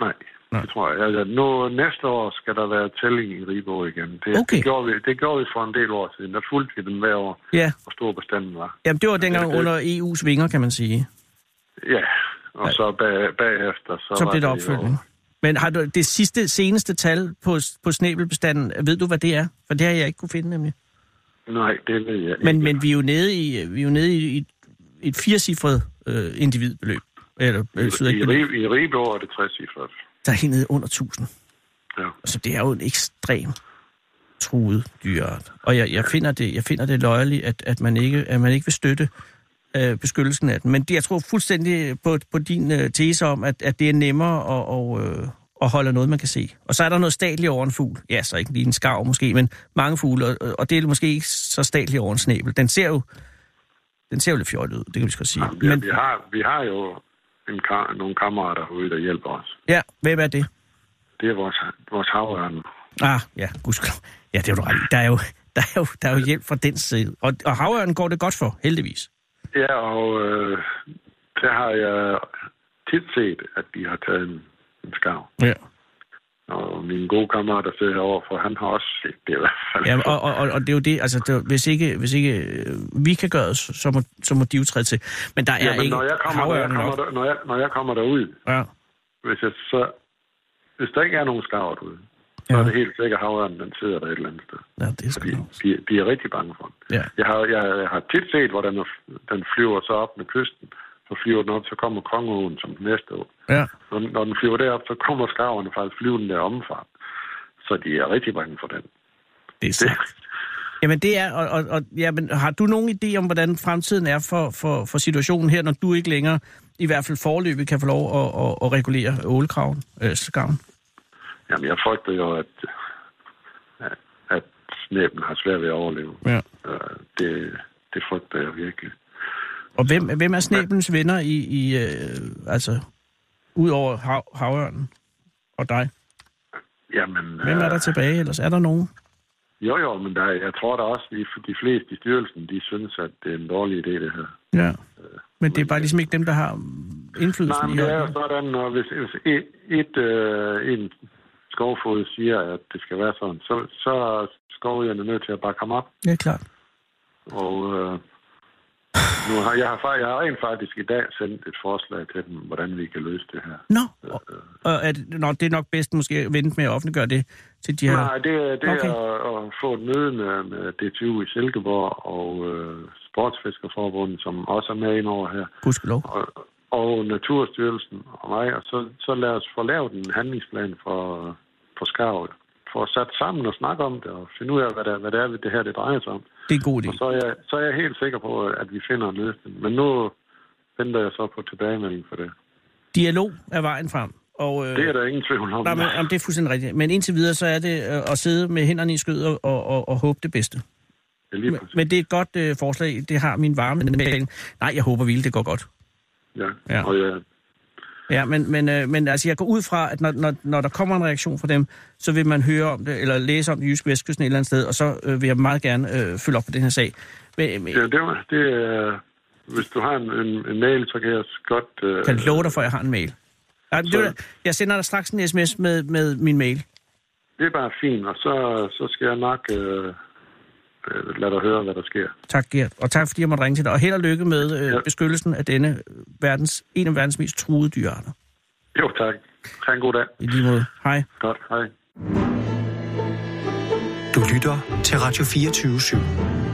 Nej, Nej. det tror jeg. Altså, nu, næste år skal der være tælling i Rigå igen. Det, Okay. det, gjorde vi, det gjorde vi for en del år siden. Der fulgte vi den hver år, Ja, hvor stor bestanden var. jamen det var dengang Ja, det- under EU's vinger, kan man sige. Ja, og Ja. så bag, bagefter... Så, Så var blev der det jo- opfølgning. Men har du det sidste, seneste tal på, på snebelbestanden, ved du, hvad det er? For det har jeg ikke kunne finde, nemlig. Nej, det ved jeg Men, ikke. men vi er jo nede i, vi er jo nede i, i et firecifret øh, individbeløb. Eller øh, I, sydækbeløb. Rib, I Ribå er det 60 cifret. der er helt nede under 1000. Ja. Altså, det er jo en ekstrem truet dyreart. Og jeg, jeg finder det, jeg finder det løjerligt, at, at, man ikke, at man ikke vil støtte øh, beskyttelsen af den. Men det, jeg tror fuldstændig på, på din øh, tese om, at, at det er nemmere at, og, øh, at holde noget, man kan se. Og så er der noget statligt over en fugl. Ja, så ikke lige en skarv måske, men mange fugle. Og, og det er måske ikke så statligt over en snæbel. Den ser jo, den ser jo lidt fjollet ud, det kan vi så godt sige. Vi, Men, vi, har, vi har jo en kar, nogle kammerater derude, der hjælper os. ja, hvem er det? Det er vores, vores havørn. Ah, ja, gudskelov. Ja, det er jo du ret. i. Der er jo, der er jo, der er jo hjælp fra den side. Og, og havørnen går det godt for, heldigvis. Ja, og øh, der har jeg tit set, at de har taget en, en skarv. Ja. Og min gode kammerat, der sidder herovre, for han har også set det i hvert fald. ja og, og, og, og det er jo det, altså, det er, jo- hvis ikke, hvis ikke øh, vi kan gøre det, så så må, så må de jo træde til. Men der er ja, men ikke når jeg kommer, når jeg havørnen kommer, nok. der, når jeg, når jeg kommer derud, Ja. hvis, jeg så, hvis der ikke er nogen skarver derude, så Ja. er det helt sikkert, at havørnen den sidder der et eller andet sted. ja, det er sgu De, nok. de, de er rigtig bange for den. Ja. Jeg har, jeg, jeg har tit set, hvordan den den flyver så op med kysten. Så flyver den op, så kommer kongeåen som den næste år. Ja. Når, den- når den flyver derop, så kommer skarverne faktisk flyvende der omfang. Så de er rigtig bange for den. Det er sagt. Jamen det er, og, og, og jamen, har du nogen idé om, hvordan fremtiden er for, for, for situationen her, når du ikke længere, i hvert fald forløbet, kan få lov at, at, at regulere ålekraven, øh, skarven? Jamen, jeg frygter jo, at, at- at snæben har svært ved at overleve. Ja. Øh, Det, det frygter jeg virkelig. Og hvem, hvem er snæbelens venner i, i øh, altså, ud over hav, havørnen og dig? Jamen, Hvem er der øh, tilbage ellers? Er der nogen? Jo, jo, men der, jeg tror da også, at de fleste i styrelsen, de synes, at det er en dårlig idé, det her. Ja. Men det er bare ligesom ikke dem, der har indflydelse Nej, men det er jo sådan, når hvis, hvis et, et, øh, en skovfod siger, at det skal være sådan, så, så er skovjerne nødt til at bakke ham op. Ja, klart. Og øh, nu har, jeg, har, fa- jeg har rent faktisk i dag sendt et forslag til dem, hvordan vi kan løse det her. Nå, og, og er det, nå, det er nok bedst måske at vente med at offentliggøre det til de Ja. her... Nej, det, er- det okay. Okay. er at, at få et møde med, med DTU i Silkeborg og øh, Sportsfiskerforbundet, som også er med ind over her. Gudskelov. og, og Naturstyrelsen og mig, og så, så lad os få lavet en handlingsplan for, for skarv. Få os sat sammen og snakke om det, og finde ud af, hvad det, er- hvad det er, det her det drejer sig om. Det er en god Og idé. så er, jeg, så er jeg helt sikker på, at vi finder en løsning. Men nu venter jeg så på tilbagemelding for det. Dialog er vejen frem. Og, øh, Det er der ingen tvivl om. nej, men, jamen, det er fuldstændig rigtigt. Men indtil videre, så er det øh, at sidde med hænderne i skødet og, og, og håbe det bedste. Det er lige Men, præcis. men det er et godt øh, forslag. Det har min varme anbefaling. Nej, jeg håber vildt, det går godt. Ja. ja. Ja. Og ja, Ja, men, men, øh, men altså, jeg går ud fra, at når, når, når der kommer en reaktion fra dem, så vil man høre om det, eller læse om det i Jysk Vestkysten et eller andet sted, og så øh, vil jeg meget gerne øh, følge op på den her sag. Men, men, det, det, var- det er... Hvis du har en, en, en mail, så kan jeg også godt... Øh, jeg kan love dig for, at jeg har en mail. Ej, men det var, jeg sender dig straks en sms med, med min mail. Det er bare fint, og så, så skal jeg nok øh, øh, lade dig høre, hvad der sker. Tak, Gert. Og tak, fordi jeg måtte ringe til dig. Og held og lykke med øh, Ja. beskyttelsen af denne øh, verdens, en af verdens mest truede dyrearter. Jo, tak. Ha' en god dag. I lige måde. Hej. Godt, hej. Du lytter til Radio 24 /7.